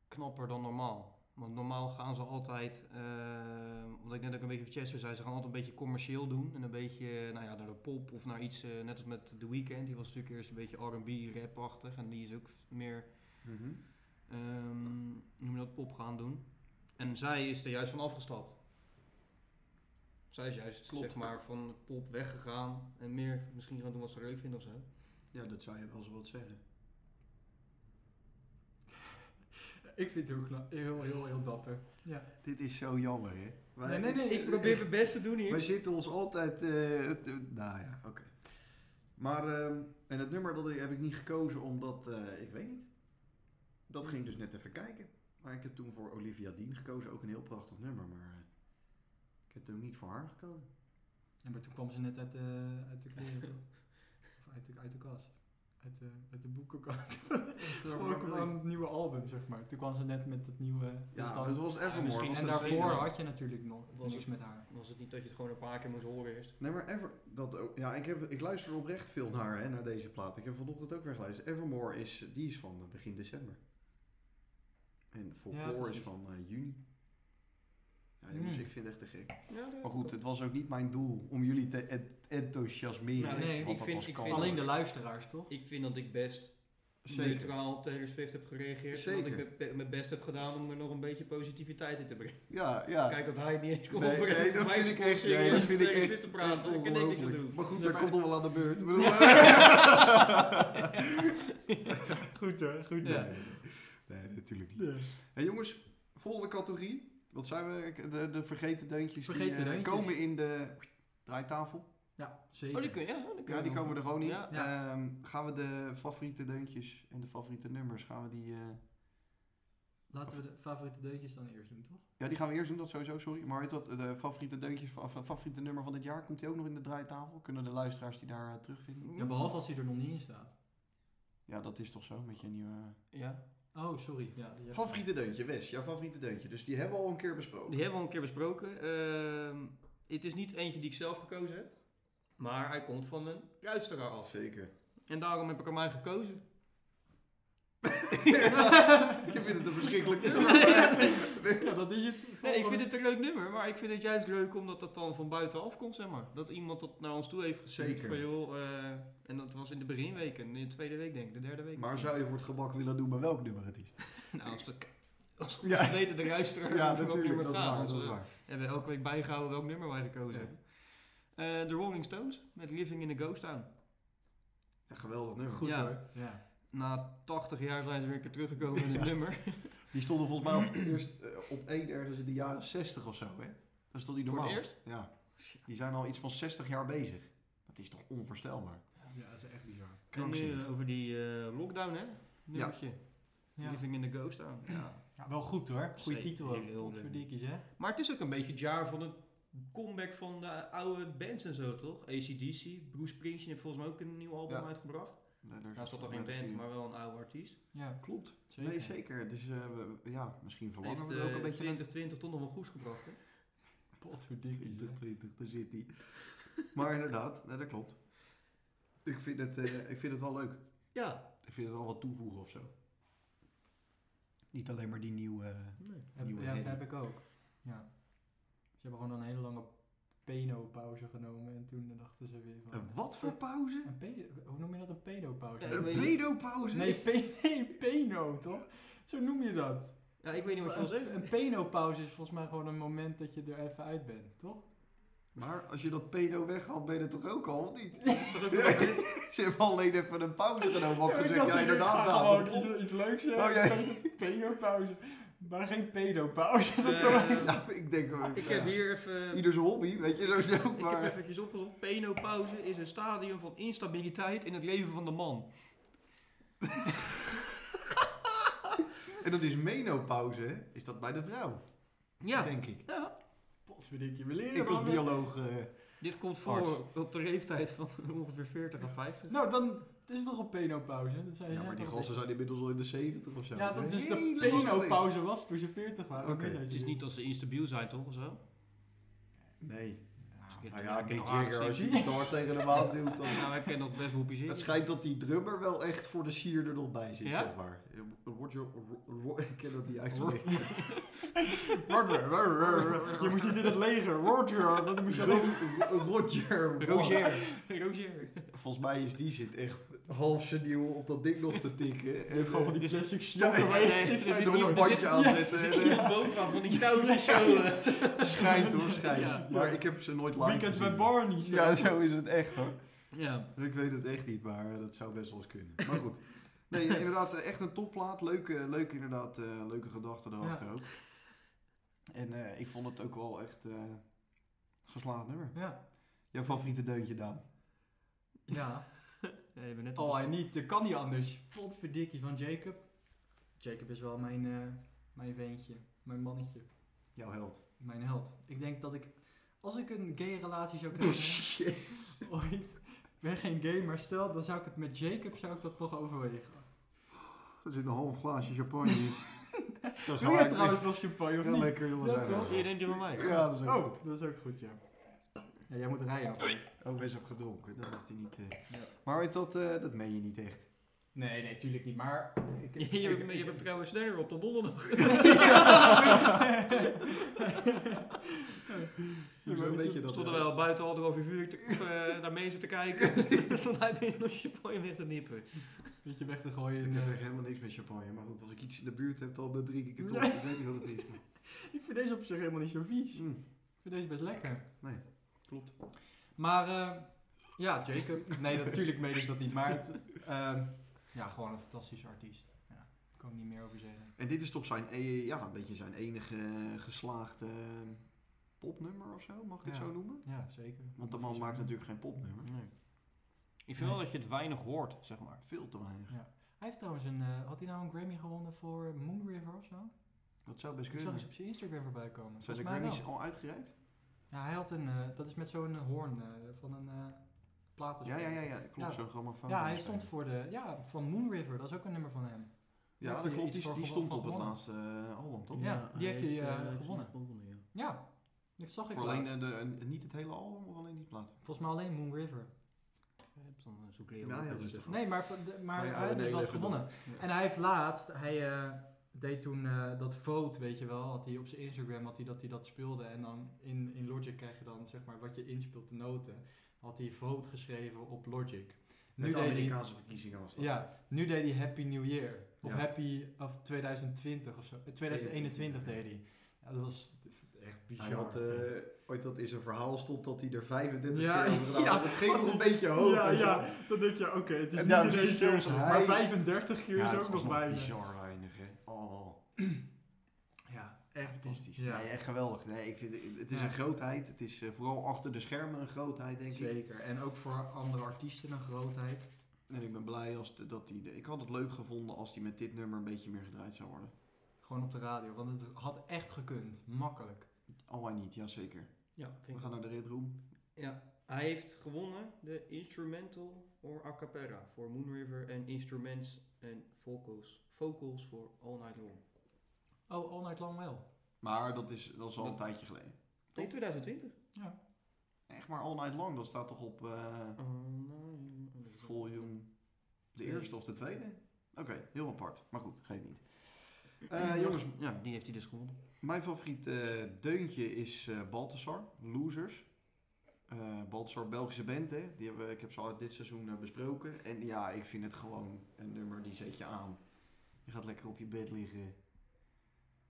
S1: knapper dan normaal. Want normaal gaan ze altijd, eh, omdat ik net ook een beetje van Chester zei, ze gaan altijd een beetje commercieel doen. En een beetje nou ja, naar de pop of naar iets, eh, net als met The Weeknd. Die was natuurlijk eerst een beetje R&B, rapachtig En die is ook meer,
S2: Mhm.
S1: ehm hoe noem je dat, pop gaan doen. En zij is er juist van afgestapt. Zij is juist,
S2: Klopt.
S1: zeg maar, van pop weggegaan. En meer misschien gaan doen wat ze leuk vinden of zo.
S2: Ja, dat zou je wel zo wat zeggen.
S3: Ik vind het heel, kna- heel, heel, heel dapper. Ja.
S2: Dit is zo jammer, hè? Wij-
S3: Nee, nee, nee,
S1: Ik probeer mijn best te doen hier.
S2: Wij zitten ons altijd... eh, het, eh, nou ja, oké. Maar, ehm, en het nummer dat ik, heb ik niet gekozen omdat, eh, ik weet niet. Dat ging dus net even kijken. Maar ik heb toen voor Olivia Dean gekozen. Ook een heel prachtig nummer, maar eh, ik heb toen niet voor haar gekozen.
S3: Ja, maar toen kwam ze net uit de, uit de kleren, toch? Of uit de, uit de kast. Uit de, uit de boekenkast. Gewoon kwam aan het nieuwe album, zeg maar. Toen kwam ze net met dat nieuwe... dus
S2: Ja,
S3: dan-
S2: het was Evermore.
S1: misschien-
S2: was
S3: en
S2: het
S3: daarvoor
S1: tweede.
S2: tweede.
S3: had je natuurlijk nog
S1: Was
S3: niks
S1: het-
S3: met haar.
S1: Was het niet dat je het gewoon een paar keer moest horen eerst?
S2: Nee, maar Ever... Dat ook, ja, ik, heb, ik luister oprecht veel naar, hè, naar deze plaat. Ik heb vanochtend ook weer geluisterd. Evermore is, die is van eh, begin december. En
S3: Ja,
S2: folklore
S3: precies.
S2: is van eh, juni. Ja,
S3: Hmm.
S2: jongens, ik vind het echt te gek.
S1: Ja,
S2: Maar goed, het was ook niet mijn doel om jullie te ent- enthousiasmeren.
S1: Nou,
S3: nee,
S2: Want
S1: ik
S2: dat
S1: vind-
S2: was
S1: ik
S2: kan.
S1: vind-
S3: Alleen de luisteraars, toch?
S1: Ik vind dat ik best
S2: Zeker.
S1: neutraal op Taylor Swift heb gereageerd.
S2: Zeker.
S1: En dat ik mijn- mijn best heb gedaan om er nog een beetje positiviteit in te brengen.
S2: Ja, ja.
S1: Kijk dat hij het niet eens kon
S2: Nee,
S1: opbrengen.
S2: nee, dat
S1: Wij
S2: vind ik
S1: zitten
S2: echt- nee,
S1: serieus
S2: dat vind ik
S1: tegen
S2: echt
S1: zitten praten. Ik kan denk niks aan
S2: Ongelooflijk.
S1: doen.
S2: Maar goed,
S1: Ja,
S2: daar komt nog wel aan de beurt. Ik bedoel,
S3: Goed hoor, goed
S2: Nee, nee, nee. Nee, natuurlijk niet. Hey, jongens, volgende categorie. Wat zijn we? De, de vergeten deuntjes
S3: Vergeten
S2: die eh,
S3: deuntjes.
S2: komen in de draaitafel.
S3: Ja,
S1: Oh, die
S3: zeker.
S1: kun, ja, die kun
S2: Ja, die komen er gewoon in.
S1: Ja.
S2: Ehm, gaan we de favoriete deuntjes en de favoriete nummers, gaan we die... eh,
S3: Laten we de favoriete deuntjes dan eerst doen, toch?
S2: Ja, die gaan we eerst doen, dat sowieso, sorry. Maar weet je wat, de favoriete deuntjes, van- of, eh, favoriete nummer van dit jaar, komt die ook nog in de draaitafel? Kunnen de luisteraars die daar eh, terugvinden?
S3: Ja, behalve als hij er nog niet in staat.
S2: Ja, dat is toch zo, met je nieuwe...
S1: Ja.
S3: Oh, sorry. Ja, die heb-
S2: Favoriete deuntje, Wes, jouw favoriete deuntje. Dus die hebben we al een keer besproken.
S1: Die hebben we al een keer besproken. Ehm, het is niet eentje die ik zelf gekozen heb. Maar hij komt van een luisteraar af.
S2: Zeker.
S1: En daarom heb ik hem mij gekozen.
S2: Je vindt het een verschrikkelijk nummer. maar-
S3: Ja, dat is het.
S1: Nee, ik vind het een leuk nummer, maar ik vind het juist leuk omdat dat dan van buitenaf komt, zeg maar. Dat iemand dat naar ons toe heeft gestuurd
S2: Zeker.
S1: van, joh, eh, en dat was in de beginweken, in de tweede week denk ik, de derde week.
S2: Maar zou je voor het gebak willen doen bij welk nummer het is?
S1: Nou, als we als we
S2: Ja.
S1: weten de luisteraar
S2: Ja,
S1: over welk
S2: natuurlijk,
S1: nummer
S2: dat
S1: het
S2: is
S1: gaat.
S2: waar,
S1: want eh,
S2: dat is
S1: we
S2: waar.
S1: hebben elke week bijgehouden welk nummer wij gekozen
S2: Ja.
S1: hebben. Eh, de Rolling Stones met Living in a Ghost Town.
S2: Ja, geweldig nummer.
S3: Goed
S1: Ja.
S3: hoor. Ja.
S1: Na 80 jaar zijn ze weer een keer teruggekomen met het
S2: Ja.
S1: nummer.
S2: Die stonden volgens mij op, eerst eh, op één ergens in de jaren 60 of zo, hè? Dat is toch niet
S1: Voor
S2: normaal?
S1: het eerst.
S2: Ja. Die zijn al iets van 60 jaar bezig. Dat is toch onvoorstelbaar?
S3: ja, dat is echt bizar.
S1: En nu
S2: Krankzinnig.
S1: eh, over die eh, lockdown, hè? Nummertje.
S3: Ja.
S1: Living in a Ghost Town.
S2: Ja.
S3: Ja, wel goed hoor. Goeie
S1: Zeker.
S3: titel ook.
S1: Heel leuk.
S3: Potverdikkies, hè?
S1: Maar het is ook een beetje het jaar van het comeback van de oude bands en zo, toch? ACDC, Bruce Springsteen heeft volgens mij ook een nieuw album
S2: Ja.
S1: uitgebracht.
S2: Nee, daar
S1: Nou, dat is toch geen
S2: dat is
S1: band,
S2: die-
S1: maar wel een oude artiest.
S3: Ja,
S2: Klopt.
S3: zeker.
S2: Nee, zeker. Dus eh, we- we- ja, misschien verlangen
S1: Heeft
S2: we er ook
S1: eh,
S2: een beetje naar
S1: 2020 toch nog wel goed gebracht, hè?
S3: Potverdikkies, hè?
S2: 20, daar zit hij. maar inderdaad, nee, dat klopt. Ik vind, het, eh, ik vind het wel leuk.
S1: Ja.
S2: Ik vind het wel wat toevoegen of zo. Niet alleen maar die nieuwe...
S3: Heb,
S2: Nieuwe
S3: ja,
S2: herrie.
S3: heb ik ook. Ja. Ze hebben gewoon een hele lange pedo-pauze genomen en toen dachten ze weer van...
S2: Een Eh, wat voor pauze?
S3: Een pedo, hoe noem je dat, een pedo-pauze?
S1: Ja, ik
S2: Een
S1: weet-
S2: pedopauze?
S3: nee, pe nee, peno, toch? Zo noem je dat.
S1: ja, ik weet niet wat je wil
S3: Een,
S1: zeggen.
S3: een peno-pauze is volgens mij gewoon een moment dat je er even uit bent, toch?
S2: Maar als je dat pedo weghaalt, ben je er toch ook al, of niet?
S1: Dat is toch ook wel-
S2: Ze hebben alleen even een pauze genomen. Wat ze
S3: ik
S2: zeggen,
S3: dacht,
S2: ja,
S3: ik ga
S2: inderdaad, Daan,
S3: gewoon
S2: dat
S3: iets,
S2: klopt.
S3: iets leuks
S2: Oh, jij-
S3: zeggen. een Pedo-pauze. Maar geen pedo-pauze. dat
S1: Eh,
S3: zou-
S2: Ja, ik denk, wel.
S1: Ik heb hier even...
S2: ieder zijn hobby, weet je, zo is het ook,
S1: Ik heb
S2: maar...
S1: eventjes opgezocht. Penopauze is een stadium van instabiliteit in het leven van de man.
S2: En dat is menopauze, hè? Is dat bij de vrouw, denk ik.
S1: Ja.
S3: Potverdikkie, we leren
S2: Ik als
S3: wel weer.
S2: bioloog... eh,
S1: Dit komt voor
S2: Arts.
S1: op de leeftijd van ongeveer 40 à 50.
S3: Nou, dan het is toch een penopauze? Dat zijn
S2: ja, maar die gasten
S3: gasten
S2: zijn inmiddels al in de 70 of zo.
S3: Ja, dat is de
S2: Helemaal
S3: penopauze was toen ze 40 waren.
S2: Oké,
S1: Het is niet dat ze instabiel zijn, toch? Of zo?
S2: Nee.
S1: Ja,
S2: Nou ja,
S1: ik
S2: Mick
S1: nog aardig
S2: Jagger, als je
S1: zitten.
S2: iets hard tegen de maat duwt, dan...
S1: Nou, wij kennen dat best wel
S2: Het
S1: bezig.
S2: schijnt dat die drummer wel echt voor de sier er nog bij zit,
S1: Ja?
S2: zeg maar. Eh, Roger... Ro- Ro- ik ken dat niet uitspreken.
S3: Je moest niet in het leger. Roger, dat moest je alleen.
S2: Ro- Roger... Waters.
S1: Roger. Roger.
S2: Volgens mij is die zit echt half seniel op dat ding nog te tikken. En
S3: Gewoon van die
S2: zit
S3: zes stokken.
S2: Ja,
S3: waar je
S1: nee,
S3: niks
S1: er
S3: aan
S1: zit
S3: doet.
S2: er een bandje aan
S1: Er
S2: zetten.
S1: zit iemand bovenaan van die touwtjes zo. eh.
S2: Schijnt hoor, schijnt.
S1: Ja.
S2: Maar ik heb ze nooit live
S3: Weekends
S2: gezien.
S3: met Barney. zo.
S2: Ja, zo is het echt hoor.
S1: Ja.
S2: Ik weet het echt niet, maar eh, dat zou best wel eens kunnen. Maar goed. Nee, eh, inderdaad, eh, echt een topplaat. Leuke, leuke, inderdaad, eh, leuke gedachten erachter ook. En eh, ik vond het ook wel echt eh geslaagd nummer.
S3: Ja.
S2: Jouw favoriete deuntje, Daan?
S3: Ja.
S1: Ja, je bent net
S3: Oh, hij niet. Dat kan niet anders. Potverdikkie van Jacob. Jacob is wel mijn, eh, mijn veentje. Mijn mannetje.
S2: Jouw held.
S3: Mijn held. Ik denk dat ik... Als ik een gay relatie zou krijgen... ooit. Ik ben geen gay, maar stel, dan zou ik het met Jacob zou ik dat toch overwegen.
S2: Er zit een half glaasje champagne in. dat is
S3: Doe jij trouwens nog champagne of
S2: Heel
S3: niet?
S2: lekker, jongens.
S3: Ja,
S2: zijn we.
S3: toch?
S1: Zie je, denk je van mij?
S2: Ja, dat is ook goed.
S3: Oh, dat is ook goed, ja. Ja, jij moet rijden.
S2: Oh, wees op gedronken. Dat mag hij niet. eh. Maar weet dat, eh, dat meen je niet echt.
S3: Nee, nee, tuurlijk niet. Maar ik,
S1: Je, je, hebt- je hebt hem trouwens sneller op dan donderdag.
S2: Hoezo weet je dat
S1: stonden
S2: nou?
S1: wel buiten anderhalf uur vuur te, eh, naar mensen te kijken. stond hij binnen nog champagne met te nippen.
S3: beetje weg te gooien.
S2: Ik
S3: in,
S2: heb
S3: eh,
S2: echt helemaal niks met champagne, maar goed, als ik iets in de buurt heb, dan eh, drink ik het toch. Ik weet niet wat het is.
S3: Ik vind deze op zich helemaal niet zo vies. Ik
S2: Mm.
S3: vind deze best lekker.
S2: Nee,
S1: klopt.
S3: Maar eh, ja, Jacob. Nee, natuurlijk meen ik dat niet. Maar het, eh, ja, gewoon een fantastische artiest. Ja, daar kan ik niet meer over zeggen.
S2: En dit is toch zijn, eh, ja, een beetje zijn enige eh, geslaagde eh, popnummer of zo, mag ik het
S3: Ja.
S2: zo noemen?
S3: Ja, zeker.
S2: Want de man maakt natuurlijk geen popnummer.
S1: Ik vind wel dat je het weinig hoort, zeg maar.
S2: Veel te weinig.
S3: Hij heeft trouwens een... eh, had hij nou een Grammy gewonnen voor Moon River of zo?
S2: Dat zou best
S3: Ik zag
S2: kunnen.
S3: eens op zijn Instagram voorbij komen.
S2: Zijn de
S3: Volgens mij wel.
S2: Grammys al uitgereikt?
S3: Ja, hij had een... eh, dat is met zo'n eh, hoorn eh, van een eh platen.
S2: Ja, ja, ja, ja, klopt.
S3: Ja.
S2: Zo'n grammofoon.
S3: Ja, hij stond voor de... Ja, van Moon River. Dat is ook een nummer van hem.
S2: Ja,
S3: Heeft
S2: dat
S3: hij
S2: klopt.
S3: iets
S2: Die,
S3: voor
S2: die
S3: gewo-
S2: stond
S3: van
S2: op het
S3: gewonnen?
S2: laatste eh, album, toch?
S3: Ja, die heeft hij, eh, gewonnen.
S1: ja.
S3: Ja, dat zag ik
S2: Voor alleen
S3: laatst.
S2: eh, de, een- niet het hele album of alleen die plaat?
S3: Volgens mij alleen Moon River.
S1: Ja, Dan eh, zoek Leo
S2: Ja,
S1: ook
S2: heel
S1: wel eens
S2: rustig.
S1: te
S3: Nee, maar, van de- maar
S2: Maar ja,
S3: hij heeft
S2: nee,
S3: dus wat
S2: even
S3: gewonnen.
S2: door. Ja.
S3: En hij heeft laatst, hij eh, deed toen eh, dat vote, weet je wel, had hij op zijn Instagram, had hij dat, hij dat speelde. En dan in, in Logic krijg je dan, zeg maar, wat je inspeelt, de noten. Had hij vote geschreven op Logic.
S2: Met
S3: Nu
S2: de
S3: deed, hij,
S2: Amerikaanse verkiezingen was dat.
S3: ja, nu deed hij Happy New Year. Of
S2: Ja.
S3: Happy of 2020 of zo. Eh, 2021 deed hij. Ja, dat was echt bizar.
S2: Hij had eh,
S3: vet.
S2: ooit dat in zijn verhaal stond dat hij er 35
S3: Ja,
S2: keer over gedaan had.
S3: ja,
S2: Het ging
S3: wat
S2: nog een
S3: een-
S2: beetje hoog.
S3: ja,
S2: weet je
S3: ja,
S2: wel.
S3: dan denk je, oké, het is
S2: En
S3: niet
S2: daar
S3: in
S2: precies
S3: één
S2: zelfs
S3: keer, maar
S2: hij-
S3: 35 keer
S2: Ja,
S3: is
S2: het
S3: ook nog
S2: alsnog
S3: bijna.
S2: bizar weinig, hè. Oh,
S3: Ja, echt
S2: fantastisch.
S3: Ja.
S2: Nee, echt geweldig. Nee, ik vind, het- het is
S3: Ja.
S2: een grootheid. Het is eh, vooral achter de schermen een grootheid, denk ik.
S3: Zeker. En ook voor andere artiesten een grootheid.
S2: En ik ben blij als de- dat hij... de- Ik had het leuk gevonden als hij met dit nummer een beetje meer gedraaid zou worden.
S3: Gewoon op de radio. Want het had echt gekund. Makkelijk.
S2: Al Oh, hij niet, jazeker.
S1: Ja,
S2: We
S1: vind ik
S2: gaan
S1: ook.
S2: naar de Red Room.
S1: Hij heeft gewonnen de Instrumental or A Cappella voor Moon River en Instruments en Vocals, vocals voor All Night Long.
S3: Oh, All Night Long wel.
S2: Maar dat is, dat is al een
S1: Dat-
S2: tijdje geleden.
S1: In 2020.
S2: Echt maar All Night Long, dat staat toch op eh,
S1: All Night Long.
S2: volume... De
S1: Twee.
S2: eerste of de tweede? Oké, heel apart. Maar goed, geeft niet.
S1: Ja,
S2: Eh, jongens,
S1: ja, die heeft hij dus gewonnen.
S2: Mijn favoriet eh, deuntje is eh Baltasar, Losers. Eh Baltasar, Belgische band, hè? Die hebben, we- ik heb ze al dit seizoen eh, besproken. En ja, ik vind het gewoon een nummer die zet je aan. Je gaat lekker op je bed liggen.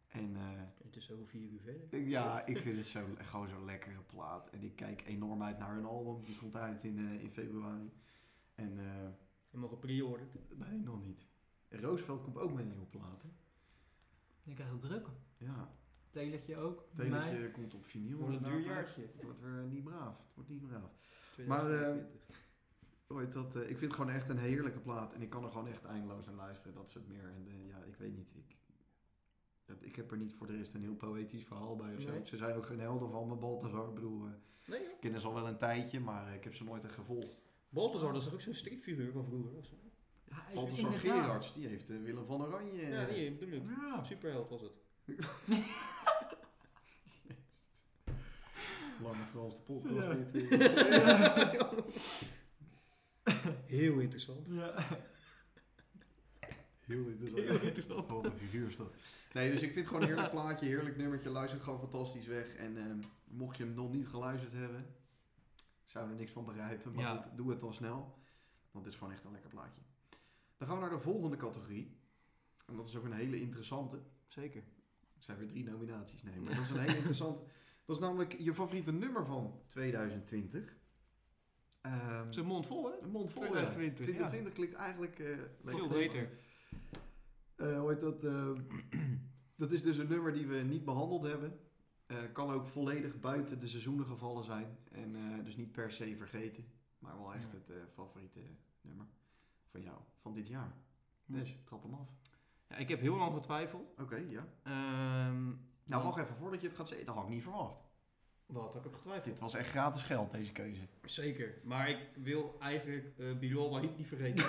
S2: En eh,
S1: Het is over vier uur verder.
S2: ik- ja, ik vind het zo, gewoon zo'n lekkere plaat. En ik kijk enorm uit naar hun album. Die komt uit in, eh, in februari. En eh,
S1: We mogen pre-orderen.
S2: nee, nog niet. Roosevelt komt ook met een nieuwe plaat. hè?
S3: Je krijgt het druk.
S2: Ja,
S3: Teletje ook.
S2: het enige komt op vinyl.
S1: Wordt een duur
S2: inderdaad uit.
S1: jaartje.
S2: Het wordt weer eh, niet braaf. Het wordt niet braaf. Maar, eh,
S1: 2022.
S2: Hoe heet dat, eh, ik vind het gewoon echt een heerlijke plaat. En ik kan er gewoon echt eindeloos naar luisteren. Dat is het meer. En eh, ja, ik weet niet. Ik, dat, ik heb er niet voor de rest een heel poëtisch verhaal bij of zo.
S1: Nee.
S2: Ze zijn ook geen helden van me, Balthazar. Ik bedoel, eh,
S1: Nee,
S2: ik ken ze al wel een tijdje, maar eh, ik heb ze nooit echt gevolgd.
S1: Balthazar, dat is toch dus ook zo'n stripfiguur van vroeger? of zo?
S2: Balthazar Gerards, die heeft eh, Willem van Oranje.
S1: Ja, die bedoel ik.
S3: Ja.
S1: Superheld was het.
S2: eh, Lange Frans de podcast.
S3: Ja.
S2: dit, eh.
S1: Heel interessant.
S2: Heel
S1: Heel
S2: interessant.
S1: interessant.
S2: Wat een figuur is dat. Nee, dus ik vind het gewoon een heerlijk plaatje, heerlijk nummertje. Luister het gewoon fantastisch weg. En ehm, mocht je hem nog niet geluisterd hebben, zou er niks van begrijpen. Maar
S1: Ja.
S2: goed, doe het dan snel. Want het is gewoon echt een lekker plaatje. Dan gaan we naar de volgende categorie. En dat is ook een hele interessante.
S1: Zeker.
S2: Het zijn weer drie nominaties, nee. Maar dat is een hele interessante. Dat is namelijk je favoriete nummer van 2020. Ehm
S1: Zijn mond vol, hè?
S2: een mond vol. ja.
S1: 2020, ja.
S2: 2020 klinkt eigenlijk eh,
S1: Veel
S2: lekker.
S1: beter.
S2: Eh, hoe heet dat? eh, dat is dus een nummer die we niet behandeld hebben. Eh, kan ook volledig buiten de seizoenen gevallen zijn. En eh, dus niet per se vergeten. Maar wel echt
S1: Ja.
S2: het eh, favoriete nummer van jou, van dit jaar. Dus, trap hem af.
S1: Ja, ik heb heel lang getwijfeld.
S2: Oké, ja.
S1: Ehm,
S2: Nou,
S1: Ja.
S2: wacht even voordat je het gaat zeggen. Dat had ik niet verwacht.
S1: wat? Ik heb getwijfeld.
S2: Dit was echt gratis geld, deze keuze.
S1: Nou, Zeker. Maar ik wil eigenlijk eh Bilal Wahib niet vergeten.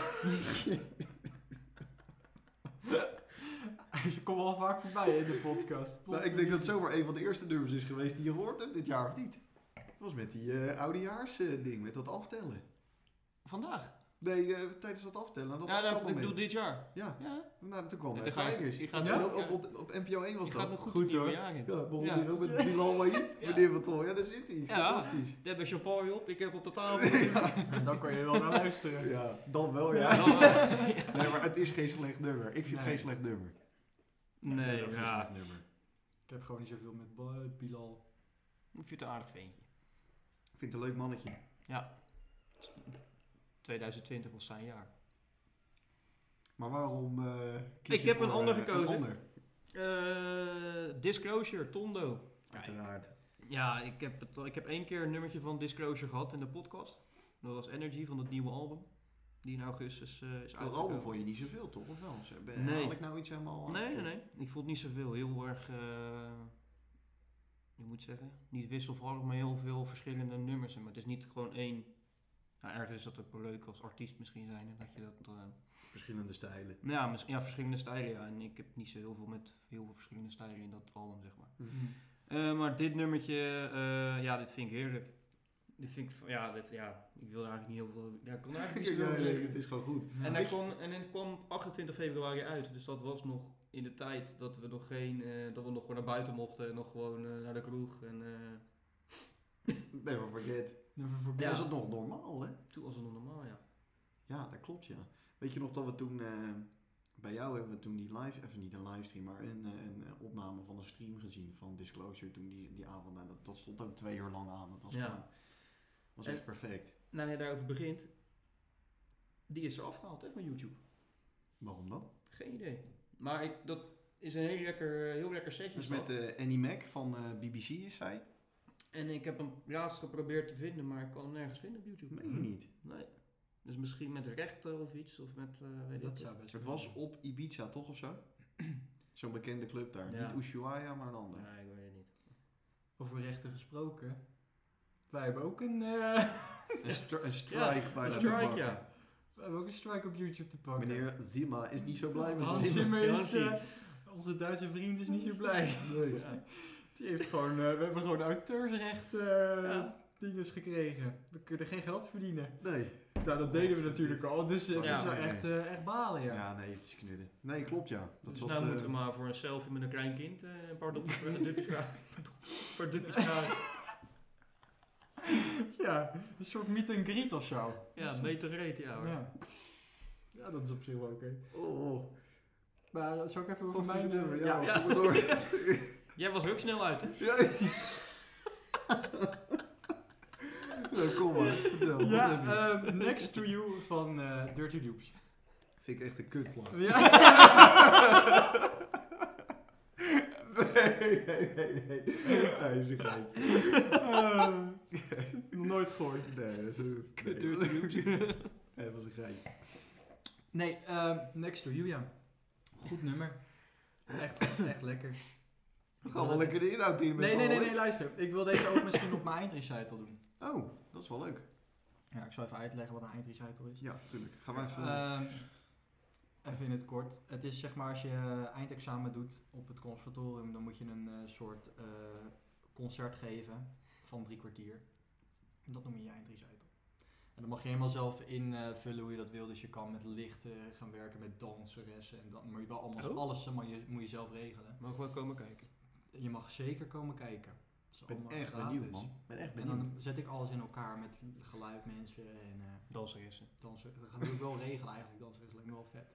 S3: Ze komen al vaak voorbij in de podcast.
S2: Nou, ik denk dat het zomaar een van de eerste nummers is geweest die je hoort hebt dit jaar of niet. Dat was met die eh oudejaars eh, ding, met dat aftellen.
S1: Vandaag.
S2: Nee, eh, tijdens dat aftellen. Dat
S1: Ja, dat ik
S2: aftelmoment.
S1: doe dit jaar.
S2: Ja,
S1: Ja,
S2: nou, toen kwam
S1: Ja,
S2: hij.
S1: dan ga je-
S2: Tigers.
S1: je gaat- eh,
S2: Ja,
S3: ja.
S2: op, op, op, NPO 1 was
S1: je
S2: dat.
S1: gaat een goed, goed
S2: hoor.
S1: jaar in.
S2: Ja, begon
S1: Ja.
S2: hier ook met Bilal Wahid,
S1: Ja.
S2: meneer Van Tol. Ja, daar zit hij.
S1: Ja.
S2: Fantastisch.
S1: Daar hebben champagne op, ik heb op de tafel.
S3: En dan kan je wel naar luisteren.
S2: Ja, dan wel ja.
S1: Dan, eh,
S2: Nee, maar het is geen slecht nummer. Ik vind
S3: Nee.
S2: geen slecht nummer. Ik vind
S1: nee,
S2: het ook geen
S1: ja.
S2: slecht nummer.
S3: Ik heb gewoon niet zoveel met Ba- Bilal.
S1: Ik vind het een aardig ventje.
S2: Ik vind het een leuk mannetje.
S1: 2020 was zijn jaar.
S2: Maar waarom eh, kies
S1: Ik
S2: je
S1: heb een
S2: voor,
S1: ander
S2: eh,
S1: gekozen.
S2: Een ander,
S1: Eh, Disclosure, Tondo.
S2: uiteraard.
S1: Ja, ik heb, het, al- ik heb één keer een nummertje van Disclosure gehad in de podcast. Dat was Energy van het nieuwe album. Die in augustus eh, is
S2: Door
S1: uitgekomen.
S2: album vond je niet zoveel, toch? Of wel? Ze hebben-
S1: Nee.
S2: Haal ik nou iets helemaal...
S1: Nee, nee, nee. Ik vond niet zoveel. Heel erg, eh, je moet zeggen, niet wisselvallig, maar heel veel verschillende nummers. Maar het is niet gewoon één. Nou, ergens is dat ook wel leuk als artiest misschien zijn. hè, Dat je dat, eh,
S2: Verschillende stijlen.
S1: nou ja, mis- ja, verschillende stijlen. Ja. En ik heb niet zo heel veel met heel veel verschillende stijlen in dat album, zeg maar.
S2: Mm.
S1: Eh, maar dit nummertje, eh, ja, dit vind ik heerlijk. Dit vind ik, ja, dit, ja, ik wil er eigenlijk niet heel veel, ja, ik kon er eigenlijk niet
S2: Ja,
S1: zo
S2: nee,
S1: over zeggen.
S2: het is gewoon goed.
S1: En,
S3: En
S1: hij kwam, en het kwam op 28 februari uit, dus dat was nog in de tijd dat we nog geen, eh, dat we nog gewoon naar buiten mochten en nog gewoon eh, naar de kroeg. En eh,
S2: Never forget.
S3: Never forget.
S2: Ja. Is dat nog normaal, hè?
S1: toen was het nog normaal, ja.
S2: Ja, dat klopt, ja. Weet je nog dat we toen... eh, bij jou hebben we toen die live... Even niet een livestream, maar een, eh, een eh, opname van een stream gezien van Disclosure toen die, die avond. Nou, dat, dat stond ook twee uur lang aan. Dat was,
S1: Ja.
S2: gewoon- was
S1: En-
S2: echt perfect.
S1: Nou, je daarover begint, die is er afgehaald hè, van YouTube.
S2: Waarom dan?
S1: Geen idee. Maar ik, dat is een heel lekker, eh, heel lekker setje.
S2: Dus met eh, Annie Mac van eh, BBC is zij.
S1: En ik heb hem laatst geprobeerd te vinden, maar ik kan hem nergens vinden op YouTube.
S2: Meen je niet?
S1: Nee. Dus misschien met rechten of iets, of met, eh, weet ik
S3: Dat
S1: het.
S3: zou best
S2: Dus Het
S3: wel
S2: was
S3: kunnen.
S2: op Ibiza toch of zo? Zo'n bekende club daar.
S1: Ja.
S2: Niet Ushuaia, maar een ander.
S1: Nee, ik weet het niet.
S3: Over rechten gesproken. Wij hebben ook een, eh,
S2: Een, stri- een strike bij
S1: Een
S2: de
S1: strike,
S2: bakker.
S1: ja.
S3: we hebben ook een strike op YouTube te pakken.
S2: Meneer Zima is niet zo blij met
S3: Hans
S1: Zimmer.
S2: Zima.
S3: Zimmer
S1: Hans
S3: is, eh, onze Duitse vriend is niet zo blij.
S2: Nee.
S3: Die heeft gewoon, eh, we hebben gewoon auteursrecht eh,
S1: Ja.
S3: dinges gekregen. We kunnen geen geld verdienen.
S2: nee.
S3: Nou, dat deden we natuurlijk al, dus eh, het
S1: Ja.
S3: is wel echt, eh, echt balen, ja.
S2: Ja, nee, het is knudden. Nee, klopt ja. Dat
S1: dus
S2: zat,
S1: nou
S2: eh,
S1: moeten we maar voor een selfie met een klein kind eh, een paar dopjes een dupjes vragen. Een paar dupjes vragen.
S3: Ja, een soort meet and greet of zo.
S1: Ja, beter reet, Oh, ja hoor.
S3: Ja. Ja, dat is op zich wel oké.
S2: Oh,
S3: Maar eh, zal ik even over
S2: van
S3: mijn...
S2: mijn nummer.
S3: eh,
S2: Ja,
S1: ja.
S2: kom maar door.
S1: Jij was er ook snel uit, hè?
S2: Ja. Nou, kom maar. Vertel, wat
S3: Ja,
S2: heb je?
S3: ehm, Next to You van eh, Dirty Loops.
S2: Vind ik echt een kutplaat.
S3: Ja.
S2: Nee, nee, nee, nee. Nee, is een geit. Eh,
S3: Ah. Nog nooit gehoord.
S2: Nee, dat is een... nee.
S1: Dirty
S2: Nee, dat was een geitje.
S3: Nee, ehm, Next to You, ja. Goed nummer. Echt, echt lekker.
S2: We gaan wel lekker de inhoud in met
S3: Nee,
S2: z'n
S3: nee, nee,
S2: allen.
S3: nee, luister. Ik wil deze ook misschien op mijn eindrecital doen.
S2: Oh, dat is wel leuk.
S3: Ja, ik zal even uitleggen wat een eindrecital is.
S2: Ja, tuurlijk. Gaan we even...
S3: Ehm, even in het kort. Het is zeg maar als je eh, eindexamen doet op het conservatorium, dan moet je een eh, soort eh, concert geven van drie kwartier. En Dat noem je je eindrecital. En dan mag je helemaal zelf invullen hoe je dat wil. Dus je kan met licht eh, gaan werken, met danseressen. En dan, maar je wel allemaal,
S1: Oh.
S3: alles eh, maar je, moet je zelf regelen.
S1: Mogen we komen kijken?
S3: Je mag zeker komen kijken. Dat is
S2: ik ben
S3: allemaal
S2: echt
S3: gratis.
S2: benieuwd, man. Ik ben echt
S3: En
S2: benieuwd.
S3: dan zet ik alles in elkaar met geluid, mensen en... eh,
S1: Danseressen.
S3: dansen. Dat gaan we ook wel regelen eigenlijk. Dansen is lijkt me wel vet.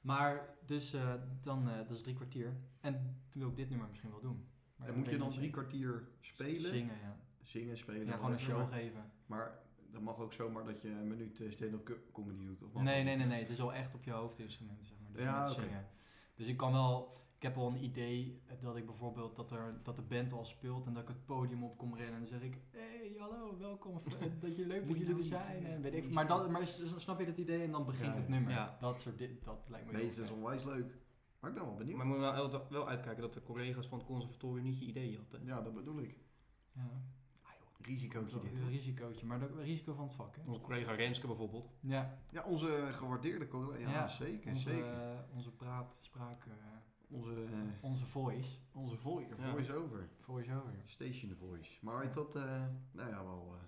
S3: Maar dus eh, dan, eh, dat is drie kwartier. En toen wil ik dit nummer misschien wel doen. Maar
S2: En
S3: dat
S2: moet je
S3: weet
S2: dan
S3: ik
S2: drie
S3: niet
S2: kwartier
S3: zeker.
S2: spelen?
S3: Zingen, ja.
S2: Zingen, spelen.
S3: Ja, gewoon een
S2: whatever.
S3: show geven.
S2: Maar dat mag ook zomaar dat je een minuut eh, stand-up co- comedy doet. Of mag
S3: Nee,
S2: dat
S3: nee,
S2: niet?
S3: nee, nee. Het is wel echt op je hoofdinstrument, zeg maar. Dus
S2: Ja,
S3: met
S2: oké.
S3: zingen. Dus ik kan wel... Ik heb al een idee eh, dat ik bijvoorbeeld dat, er, dat de band al speelt en dat ik het podium op kom rennen en dan zeg ik, hey, hallo, welkom, eh, dat je leuk
S2: Moet
S3: dat jullie
S2: je
S3: er
S2: nou niet,
S3: zijn.
S2: eh,
S3: En weet
S2: moet
S3: ik,
S2: je
S3: maar, dat,
S2: niet.
S3: maar s- snap je dat idee en dan begint
S2: Ja,
S3: het
S2: ja.
S3: nummer.
S1: Ja.
S3: Dat soort di- dat lijkt me
S2: Nee,
S3: heel
S2: dat is
S3: vet.
S2: onwijs leuk. Maar ik ben wel benieuwd.
S1: Maar we moeten wel, wel- wel uitkijken dat de collega's van het conservatorium niet je idee hadden.
S2: Ja, dat bedoel ik.
S3: Ja.
S2: Risicootje dit. Oh.
S3: Een risicootje, maar ook een risico van het vak, hè?
S1: Onze collega Renske bijvoorbeeld.
S3: Ja,
S2: Ja, onze gewaardeerde collega. Ja,
S3: Ja,
S2: zeker,
S3: onze,
S2: zeker.
S3: eh, onze praat, spraak, eh,
S2: Onze, eh,
S3: onze voice,
S2: onze vo-
S1: Ja.
S2: voice-over.
S3: voice-over.
S2: Station voice. Maar weet dat... eh, nou ja, wel... eh,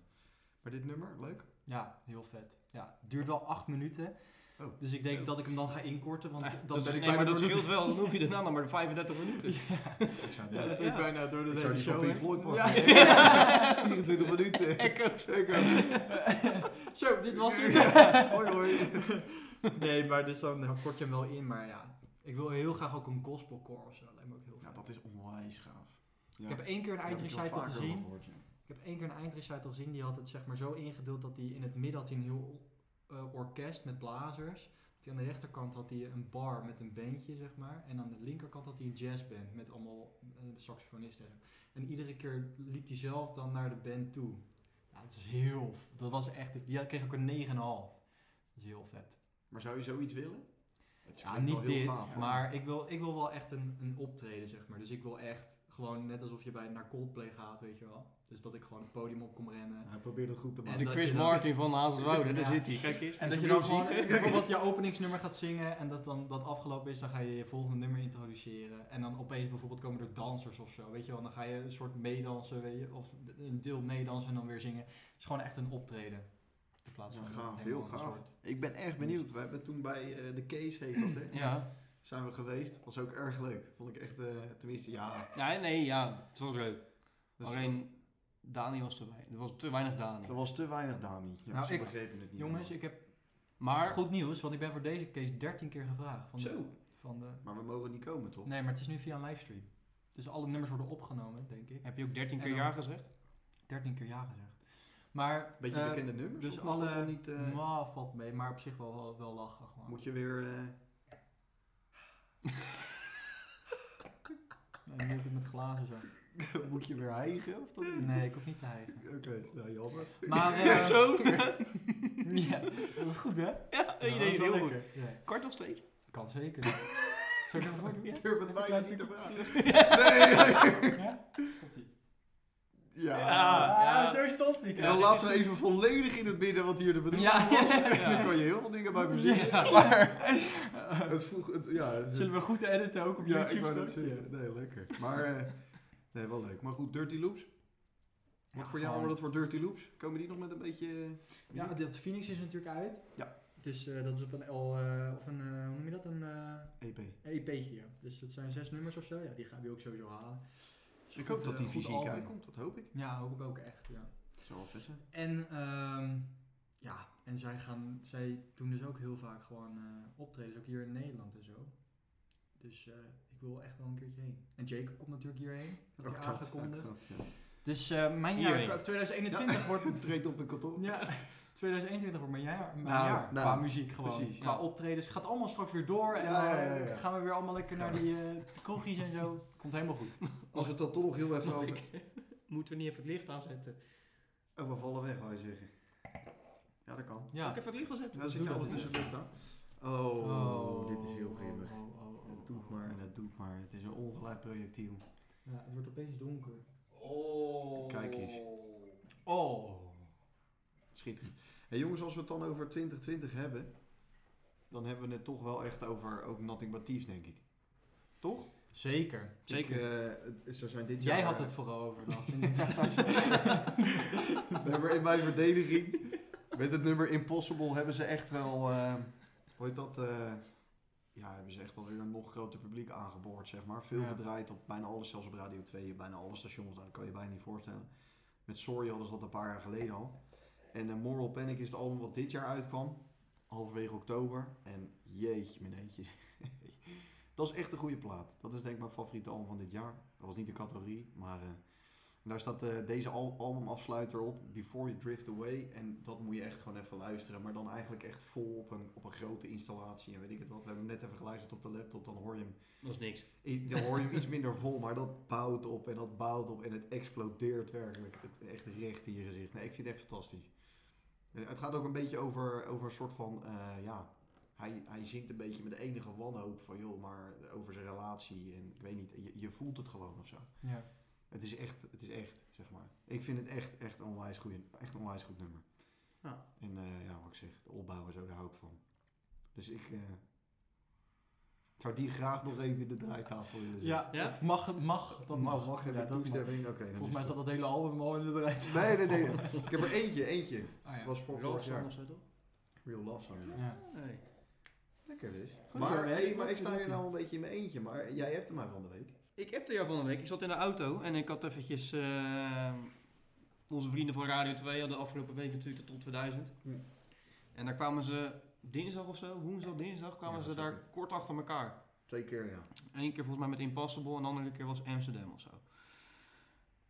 S2: maar dit nummer, leuk.
S3: Ja, heel vet. Ja, het duurt wel acht minuten.
S2: Oh.
S3: Dus ik denk
S1: Zo.
S3: dat ik hem dan ga inkorten, want
S1: Ja,
S3: dat,
S1: Nou, dat
S3: ben ik
S1: nee, maar
S3: bijna
S1: dat
S3: door de-
S1: scheelt wel, dan hoef je daarna nog maar 35 minuten.
S2: Ik zou
S3: Ja,
S2: het
S3: dat ben ik
S1: Ja.
S3: bijna door de hele
S2: Ik zou die van
S3: show
S2: Pink
S3: heen.
S2: Floyd
S3: Ja.
S2: pakken. 24 minuten.
S1: Echo's.
S3: Zo, dit was het.
S2: Ja, hoi, hoi.
S3: nee, maar dus dan kort je hem wel in. Maar ja, ik wil heel graag ook een gospelcore of zo. Lijkt me ook heel
S2: Ja,
S3: vet.
S2: dat is onwijs gaaf. Ja.
S3: Ik heb één keer een
S2: Daar heb ik wel
S3: eindrecital
S2: vaker
S3: gezien.
S2: over gehoord, ja.
S3: Ik heb één keer een eindrecital gezien, die had het zeg maar zo ingedeeld dat hij in het midden had hij een heel eh, orkest met blazers. Dat hij aan de rechterkant had hij een bar met een bandje, zeg maar. En aan de linkerkant had hij een jazzband met allemaal eh, saxofonisten. en zo. En iedere keer liep hij zelf dan naar de band toe. Ja, dat is heel... f- Dat was echt... Die had- kreeg ook een 9,5. Dat is heel vet.
S2: Maar zou je zoiets willen? Het
S3: Ja,
S2: klinkt wel
S3: niet
S2: heel
S3: dit,
S2: gaaf, hoor.
S3: maar ik wil, ik wil wel echt een, een optreden, zeg maar. Dus ik wil echt gewoon net alsof je bij naar Coldplay gaat, weet je wel. Dus dat ik gewoon het podium op kom rennen.
S2: Hij probeert het goed te
S3: En
S1: De
S2: maken.
S3: dat
S1: Chris
S3: je dan-
S1: Martin van Hazelswoude, daar
S3: Ja.
S1: zit hij. Kijk eens.
S3: En dat je dan gewoon bijvoorbeeld je openingsnummer gaat zingen en dat dan dat afgelopen is, dan ga je je volgende nummer introduceren. En dan opeens bijvoorbeeld komen er dansers of zo, weet je wel. Dan ga je een soort meedansen, weet je, of een deel meedansen en dan weer zingen. Het is gewoon echt een optreden. In plaats
S2: Ja,
S3: van
S2: gaaf,
S3: een
S2: heel
S3: ander
S2: gaaf.
S3: soort.
S2: Ik ben echt benieuwd. We hebben toen bij eh, de Case, heet dat hè?
S1: Ja.
S2: Zijn we geweest. Was ook erg leuk. Vond ik echt, eh, tenminste, ja.
S1: ja, nee, ja, het was leuk.
S2: Dus-
S1: Alleen, Dani was te weinig. Er was te weinig Dani.
S2: Er was te weinig Dani. Ja,
S3: Nou,
S2: ze
S3: ik-
S2: begrepen het niet.
S3: Jongens, ik heb
S1: Maar,
S3: goed nieuws, want ik ben voor deze case 13 keer gevraagd. Van De,
S2: Zo.
S3: van de,
S2: Maar we mogen niet komen, toch?
S3: nee, maar het is nu via een livestream. Dus alle nummers worden opgenomen, denk ik.
S1: heb je ook 13
S3: En
S1: keer
S3: dan-
S1: ja gezegd?
S3: 13 keer ja gezegd. Maar,
S2: Beetje
S3: eh,
S2: bekende nummers?
S3: dus
S2: of mag dat
S3: alle-
S2: nog Niet, eh,
S3: mwah, valt mee, maar op zich wel, wel, wel lachen. gewoon.
S2: moet je weer... eh,
S3: En nu heb ik het met glazen zo.
S2: eh, moet je weer hijgen of dat niet?
S3: Nee, ik hoef niet te hijgen.
S2: Oké, nou jammer.
S3: Maar, eh,
S1: Ja, zo.
S3: ja, dat is goed hè?
S1: Ja, je deed het heel goed. Kort nog steeds.
S3: Kan zeker. Zal ik ervoor doen?
S2: Ik durf het bijna niet te
S3: stukje.
S2: vragen. Nee.
S3: Ja? Komt-ie.
S2: Ja.
S1: Ja.
S3: Ah, zo stond ik.
S2: En dan laten we even volledig in het midden wat hier de bedoeling
S3: Ja.
S2: was.
S1: Ja.
S2: Dan kan je heel veel dingen bij muziek.
S1: Ja.
S2: Maar het vroeg... Het, ja, het-
S3: Zullen we goed editen ook op
S2: ja, ik
S3: YouTube?
S2: wou net
S3: straks?
S2: zeggen. Nee, lekker. Maar... eh, nee, wel leuk. Maar goed, Dirty Loops.
S3: Ja,
S2: Wat voor jou
S3: gewoon-
S2: wordt het voor Dirty Loops? Komen die nog met een beetje... eh,
S3: Ja, dat Phoenix is natuurlijk uit.
S2: Ja.
S3: Dus eh, dat is op een L, eh, of een, eh, hoe noem je dat, een eh,
S2: EP.
S3: EP'tje. ja. Dus dat zijn zes nummers of zo. Ja, die gaan we ook sowieso halen. Is
S2: Ik
S3: goed,
S2: hoop dat
S3: eh,
S2: die
S3: goed
S2: fysiek
S3: album.
S2: uitkomt. Dat hoop ik.
S3: Ja, hoop ik ook echt, ja.
S2: Zo wel vet zijn.
S3: En ehm, ja, en zij, gaan, zij doen dus ook heel vaak gewoon eh optredens, ook hier in Nederland en zo. Dus eh, ik wil echt wel een keertje heen. En Jacob komt natuurlijk hierheen, dat
S2: Ook
S3: hij
S2: dat,
S3: aangekondigd.
S2: ook dat, ja.
S3: Dus eh, mijn jaar,
S1: Hierheen.
S3: 2021 wordt...
S2: Het treedt op een kantoor.
S3: Ja, 2021 wordt mijn jaar, mijn
S2: Nou,
S3: jaar
S2: nou,
S3: qua muziek gewoon,
S2: precies,
S3: qua
S1: ja.
S3: optredens. Gaat allemaal straks weer door en
S2: Ja,
S3: dan
S2: ja, ja, ja.
S3: gaan we weer allemaal lekker naar die eh kroegjes en zo. Komt helemaal goed.
S2: Als we het dan toch nog heel even over...
S1: Moeten we niet even het licht aanzetten?
S2: Oh, we vallen weg, wou je zeggen. Ja, dat kan.
S1: Zal
S3: Ja.
S1: ik even het licht aanzetten?
S2: Dan zit je ondertussen licht aan. Oh, dit is heel
S3: oh,
S2: grimmig.
S3: oh, oh, oh,
S2: Het doet
S3: oh.
S2: maar en het doet maar. Het is een ongelijk projectiel.
S3: Ja, het wordt opeens donker.
S1: Oh.
S2: Kijk eens.
S3: Oh.
S2: Schitterend. Hey, jongens, als we het dan over 2020 hebben, dan hebben we het toch wel echt over ook Nothing But Thieves, denk ik. Toch?
S3: Zeker.
S1: Zeker.
S2: Ik, eh, het- ze zijn dit jaar...
S3: Jij had
S2: eh,
S3: het vooral over. Dan.
S2: Nee, maar in mijn verdediging, met het nummer Impossible, hebben ze echt wel, eh, hoe heet dat, eh, ja, hebben ze echt alweer een nog groter publiek aangeboord, zeg maar. Veel
S3: Ja.
S2: gedraaid op bijna alles, zelfs op Radio 2, bijna alle stations, dat kan je bijna niet voorstellen. Met Sorry hadden ze dat een paar jaar geleden al. En eh, Moral Panic is het album wat dit jaar uitkwam, halverwege oktober. En jeetje, mijn eentje. dat is echt een goede plaat. Dat is denk ik mijn favoriete album van dit jaar. Dat was niet de categorie, maar... eh, en daar staat eh, deze al- albumafsluiter op, Before You Drift Away. En dat moet je echt gewoon even luisteren. Maar dan eigenlijk echt vol op een, op een grote installatie en weet ik het wat. We hebben hem net even geluisterd op de laptop, dan hoor je hem,
S1: Dat is niks.
S2: i- dan hoor je hem iets minder vol. Maar dat bouwt op en dat bouwt op en het explodeert werkelijk. Het, echt recht in je gezicht. Nee, ik vind het echt fantastisch. Eh, het gaat ook een beetje over, over een soort van, eh, ja... Hij, hij zingt een beetje met de enige wanhoop van, joh, maar over zijn relatie. En ik weet niet, je, je voelt het gewoon of zo.
S3: ja.
S2: Het is echt, het is echt, zeg maar. Ik vind het echt, echt een onwijs goed, echt een onwijs goed nummer.
S1: Ja.
S2: En eh, ja, wat ik zeg, de opbouw en zo, daar hou ik van. Dus ik, eh, Zou die graag nog even de draaitafel willen zetten?
S3: Ja,
S1: Ja?
S3: dat mag. mag dat
S2: Dan Dus mag
S3: mag.
S2: wacht
S3: Ja,
S2: even
S3: dat mag.
S2: toestemming. Oké. dan
S3: Volgens mij staat dat hele album al in de rij.
S2: het- Nee, nee, nee. Ik heb er eentje, eentje.
S3: Ah, ja.
S2: Was voor vorig
S1: Roosland
S2: jaar.
S1: of zo toch?
S2: Real Love Song. ja.
S3: Ja.
S1: Nee.
S2: Lekker dus.
S3: Goed, hoor,
S2: maar,
S3: hè?
S2: hey, maar ik sta
S3: Goed,
S2: hier
S3: hè?
S2: nou een beetje in mijn eentje. Maar jij hebt hem maar van de week.
S1: Ik heb de jaar van de week. Ik zat in de auto en ik had eventjes... eh, onze vrienden van Radio 2 hadden afgelopen week natuurlijk de top 2000.
S2: Ja.
S1: En daar kwamen ze dinsdag of zo, woensdag, dinsdag, kwamen
S2: Ja,
S1: ze daar
S2: zeker.
S1: kort achter elkaar.
S2: Twee keer, ja.
S1: Eén keer volgens mij met Impossible en de andere keer was Amsterdam of zo.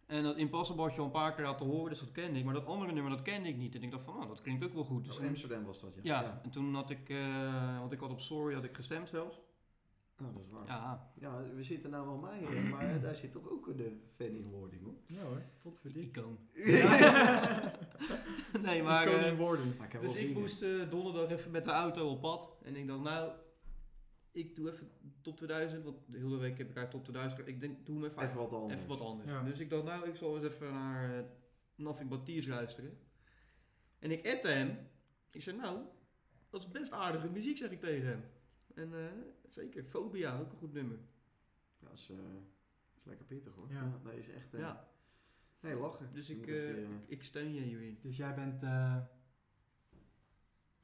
S1: En dat Impossible had je al een paar keer laten horen, dus dat kende ik. Maar dat andere nummer, dat kende ik niet. En ik dacht van, nou, dat klinkt ook wel goed. Dus
S2: Dus
S1: toen-
S2: Amsterdam was dat, ja.
S1: ja, en toen had ik, eh, want ik had op Sorry had ik gestemd zelfs.
S2: Oh, dat is waar. Ja.
S1: Ja,
S2: we zitten nou wel mij, hè, maar daar zit toch ook een fan in wording, hoor.
S3: ja hoor, tot verdiend.
S1: icoon.
S2: Ja.
S1: nee, maar... eh,
S3: Koning worden.
S2: Maar ik heb
S1: dus
S2: wel zin
S1: ik
S2: in.
S1: moest eh, donderdag even met de auto op pad. En ik dacht, nou, ik doe even top 2000. Want de hele week heb ik uit top 2000. ge- Ik denk, doe hem even,
S2: Even wat anders.
S1: even wat anders.
S3: Ja.
S1: Dus ik dacht, nou, ik zal eens even naar eh, Nothing But Tears luisteren. En ik appte hem. Ik zei, nou, dat is best aardige muziek, zeg ik tegen hem. En eh, zeker, Phobia, ook een goed nummer.
S2: Ja, is, eh, is lekker pittig, hoor.
S3: Ja.
S2: Ja. Nee, is echt... eh,
S1: Ja,
S2: Nee, lachen.
S1: dus
S2: Je
S1: ik,
S2: moet even, eh,
S1: eh, ik- ik steun je hierin.
S3: Dus jij bent eh,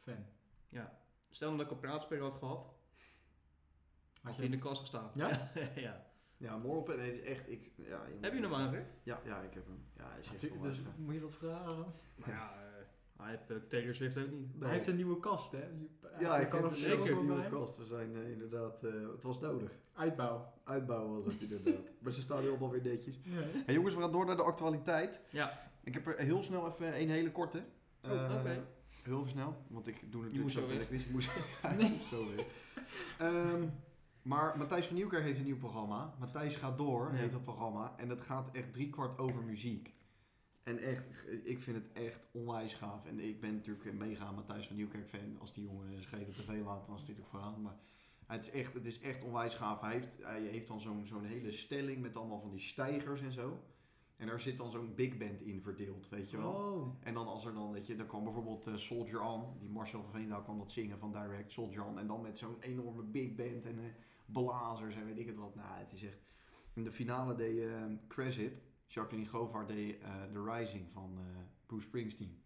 S3: fan.
S1: Stel dat ik een praatspeler had gehad, had je in de kast gestaan.
S3: Ja?
S1: ja.
S2: Ja, Morpen, nee, het is echt... Ik, ja, je moet-
S1: Heb je hem aan, Ah,
S2: Ja, ja, ik heb hem. Ja, hij is echt
S3: Natuurlijk, dus
S2: onwijs, hè.
S3: moet je dat vragen?
S1: Maar ja, eh, hij heeft eh, Taylor Swift ook niet.
S2: Nee.
S3: Hij heeft een nieuwe kast, hè? Je-
S2: Ja,
S3: hij
S2: ik heb
S3: nog
S2: hem
S1: zeker
S2: zelf
S3: zelfs
S2: een
S3: wel bij.
S2: nieuwe kast. We zijn eh, inderdaad... eh, het was nodig.
S3: Uitbouw.
S2: Uitbouwen was het inderdaad. maar ze staan nu allemaal weer netjes.
S3: Ja.
S2: Hey jongens, we gaan door naar de actualiteit.
S1: Ja.
S2: Ik heb er heel snel even een hele korte.
S1: Oh,
S2: Eh,
S1: oké.
S2: Heel even snel, want ik doe
S1: moest
S2: natuurlijk zo
S1: zo
S2: dat
S1: weg.
S2: ik wist, ik moest Ja, ik moest zo weg. Ehm, maar Matthijs van Nieuwkerk heeft een nieuw programma. Matthijs gaat door,
S1: Ja.
S2: heet dat programma. En dat gaat echt driekwart over muziek. En echt, ik vind het echt onwijs gaaf. En ik ben natuurlijk een mega Matthijs van Nieuwkerk fan. Als die jongen een scheet op tv laat, dan is dit ook verhaal. Maar het is echt, het is echt onwijs gaaf. Hij heeft, hij heeft dan zo'n zo'n hele stelling met allemaal van die stijgers en zo. En daar zit dan zo'n big band in verdeeld, weet je wel.
S3: Oh,
S2: En dan als er dan, weet je, dan kwam bijvoorbeeld eh, Soldier On, die Marcel van Veenendaal kwam dat zingen van Direct, Soldier On. En dan met zo'n enorme big band en eh, blazers en weet ik het wat. Nou, het is echt... In de finale deed eh, Crash It, Jacqueline Govaert deed eh, The Rising van eh, Bruce Springsteen.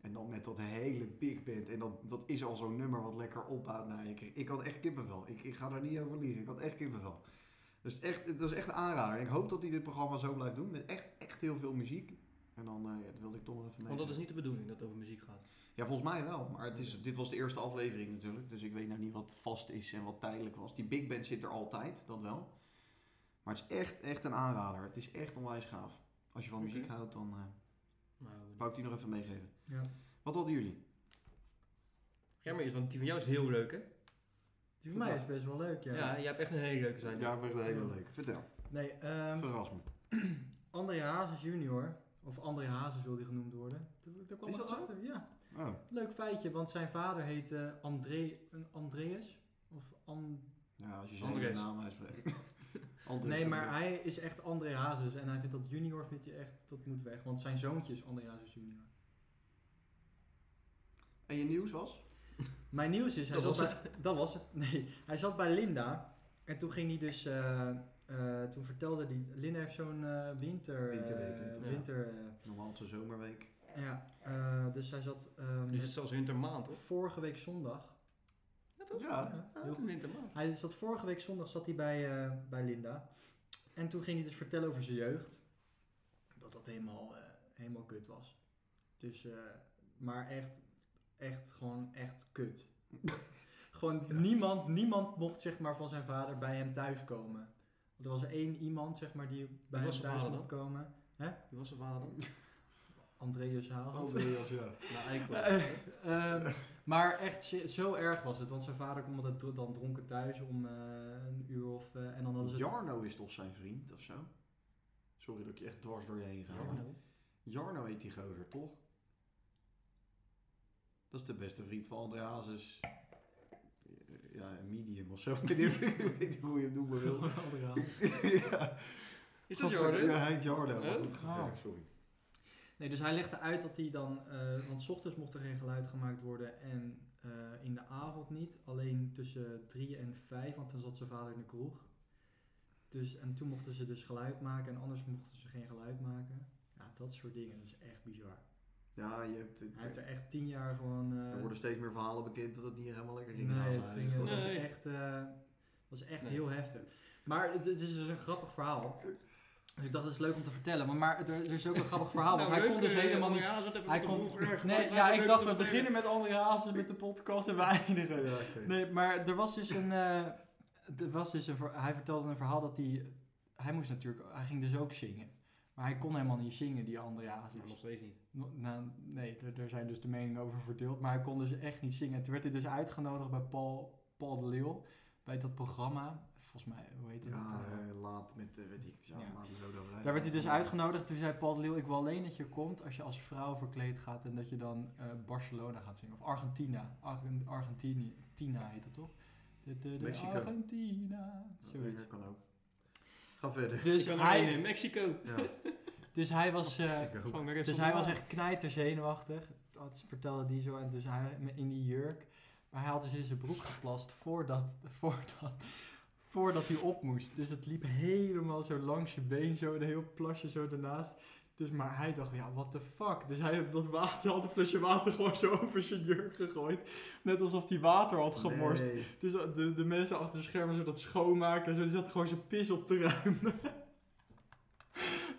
S2: En dan met dat hele big band. En dat, dat is al zo'n nummer wat lekker opbouwt. Nou, ik, ik had echt kippenvel. Ik, ik ga daar niet over liegen. Ik had echt kippenvel. Dus echt, het was echt een aanrader. En ik hoop dat hij dit programma zo blijft doen. Met echt, echt heel veel muziek. En dan eh, ja, dat wilde ik toch nog even mee.
S1: Want dat is niet de bedoeling dat het over muziek gaat.
S2: Ja, volgens mij wel. Maar het is, dit was de eerste aflevering natuurlijk. Dus ik weet nou niet wat vast is en wat tijdelijk was. Die big band zit er altijd, dat wel. Maar het is echt, echt een aanrader. Het is echt onwijs gaaf. Als je van
S1: Oké.
S2: muziek houdt, dan eh
S3: eh,
S1: Nou,
S2: wou ik die nog even meegeven.
S3: ja.
S2: Wat hadden jullie?
S1: Germer is, want die van jou is heel leuk, hè?
S3: Die voor mij is best wel leuk, ja.
S1: Ja, jij hebt echt een hele leuke zijn.
S2: Ja, echt een hele leuke. Vertel.
S3: Nee, ehm,
S2: Verras me.
S3: André Hazes junior, of André Hazes wil die genoemd worden. Daar, daar kwam
S2: Is
S3: ik
S2: dat zo?
S3: achter, ja.
S2: Oh,
S3: Leuk feitje, want zijn vader heet eh, André, een Andreas. Of An-
S2: ja, als je zijn
S1: Andres.
S2: hele naam uitspreekt. Andres
S3: nee,
S2: bedoel
S3: maar
S2: ik.
S3: hij is echt André Hazes en hij vindt dat junior, vindt hij echt, dat moet weg. Want zijn zoontje is André Hazes junior.
S2: En je nieuws was?
S3: Mijn nieuws is, hij
S1: Dat
S3: zat bij, dat was het. Nee, hij zat bij Linda. En toen ging hij dus, eh, eh, toen vertelde hij, Linda heeft zo'n eh, winter... eh,
S2: Winterweek, heet dat,
S1: ja.
S3: winter,
S2: Normaal het is een zomerweek.
S3: eh, ja, eh, dus hij zat ehm,
S1: Dus het is zelfs wintermaand, of?
S3: vorige week zondag.
S1: Ja, toch?
S2: Ja.
S3: Ja,
S1: Ah,
S3: heel
S1: het is wintermaand.
S3: Hij zat vorige week zondag zat hij bij, eh, bij Linda. En toen ging hij dus vertellen over zijn jeugd. Dat dat helemaal, eh, helemaal kut was. Dus, eh, maar echt, echt gewoon echt kut. gewoon niemand, niemand mocht zeg maar van zijn vader bij hem thuis komen. Want er was er één iemand zeg maar die bij hem
S1: was zijn
S3: thuis
S1: vader
S3: mocht komen.
S1: Wie was zijn vader dan?
S3: Andreas
S1: Oh,
S3: Haal.
S2: Andreas, ja.
S1: Nou, ik wel.
S3: Eh, ehm, maar echt, zo- zo erg was het. Want zijn vader kwam altijd dro- dan dronken thuis om eh, een uur of... eh, en dan hadden ze
S2: Jarno is toch zijn vriend of zo? Sorry dat ik je echt dwars door je heen ga.
S1: Jarno.
S2: Jarno heet die gozer, toch? Dat is de beste vriend van André Hazes. Eh, Ja, een medium of zo. Ik weet niet- ik weet niet hoe je hem noemen wil. ja.
S1: Is dat Jordan?
S2: Ja, hij heet Jarno.
S1: Huh?
S2: Wat goed
S3: Oh.
S2: geverfd, sorry.
S3: Nee, dus hij legde uit dat hij dan, eh, want 's ochtends mocht er geen geluid gemaakt worden en eh, eh, in de avond niet, alleen tussen drie en vijf, want dan zat zijn vader in de kroeg. Dus, en toen mochten ze dus geluid maken en anders mochten ze geen geluid maken. Ja, dat soort dingen, dat is echt bizar.
S2: Ja, je hebt, eh,
S3: Hij heeft er echt tien jaar gewoon... eh,
S2: er worden steeds meer verhalen bekend dat het niet helemaal lekker ging. in
S3: Nee,
S2: Hazen.
S3: het
S2: Dus
S3: ging,
S2: dat-
S3: dat was
S1: Nee.
S3: echt, eh, was echt
S1: Nee.
S3: heel heftig. Maar het, het is dus een grappig verhaal. Dus ik dacht, dat is leuk om te vertellen. Maar, maar het, er is ook een grappig
S1: Nou,
S3: verhaal. Want hij kon
S1: eh,
S3: dus helemaal niet... Hij kon, nee, ja, ik dacht, we beginnen met André Hazes met de podcast en we eindigen.
S2: Ja, oké.
S3: Nee, maar er was dus een... eh, er was dus een ver- hij vertelde een verhaal dat hij... Hij moest natuurlijk... Hij ging dus ook zingen. Maar hij kon helemaal niet zingen, die André Hazes.
S1: Nog steeds niet.
S3: No- Nou, nee, daar- daar zijn dus de meningen over verdeeld. Maar hij kon dus echt niet zingen. En toen werd hij dus uitgenodigd bij Paul, Paul de Leeuw. Bij dat programma. Volgens mij, hoe heet het?
S2: Ja,
S3: Eh,
S2: eh, laat met, eh, weet ik het, ja,
S3: Ja.
S2: laat die dood overheen.
S3: daar werd hij dus uitgenodigd. Toen zei Paul de Leeuw, ik wil alleen dat je komt als je als vrouw verkleed gaat. En dat je dan eh, Barcelona gaat zingen. Of Argentina. Argen- Argentini. Tina heet dat toch? De, de, de
S2: Mexico.
S3: Argentina. Zoiets.
S2: Dat kan ook. Ga verder.
S3: Dus
S1: ik kan alleen
S3: hij,
S1: in Mexico.
S2: Ja,
S3: dus hij was... eh,
S2: ik ook.
S1: Gewoon de rest
S3: Dus
S1: van
S3: hij
S1: de
S3: was
S1: baan.
S3: echt knijter zenuwachtig. Dat vertelde die zo. En dus hij in die jurk. Maar hij had dus in zijn broek geplast voordat, voordat, voordat hij op moest. Dus het liep helemaal zo langs je been. Zo een heel plasje zo ernaast. Dus maar hij dacht, ja, what the fuck. Dus hij had dat water, had een flesje water gewoon zo over zijn jurk gegooid. Net alsof hij water had gemorst.
S2: Nee.
S3: Dus de, de mensen achter de schermen zo dat schoonmaken en zo, die zaten gewoon zijn pis op te ruimen.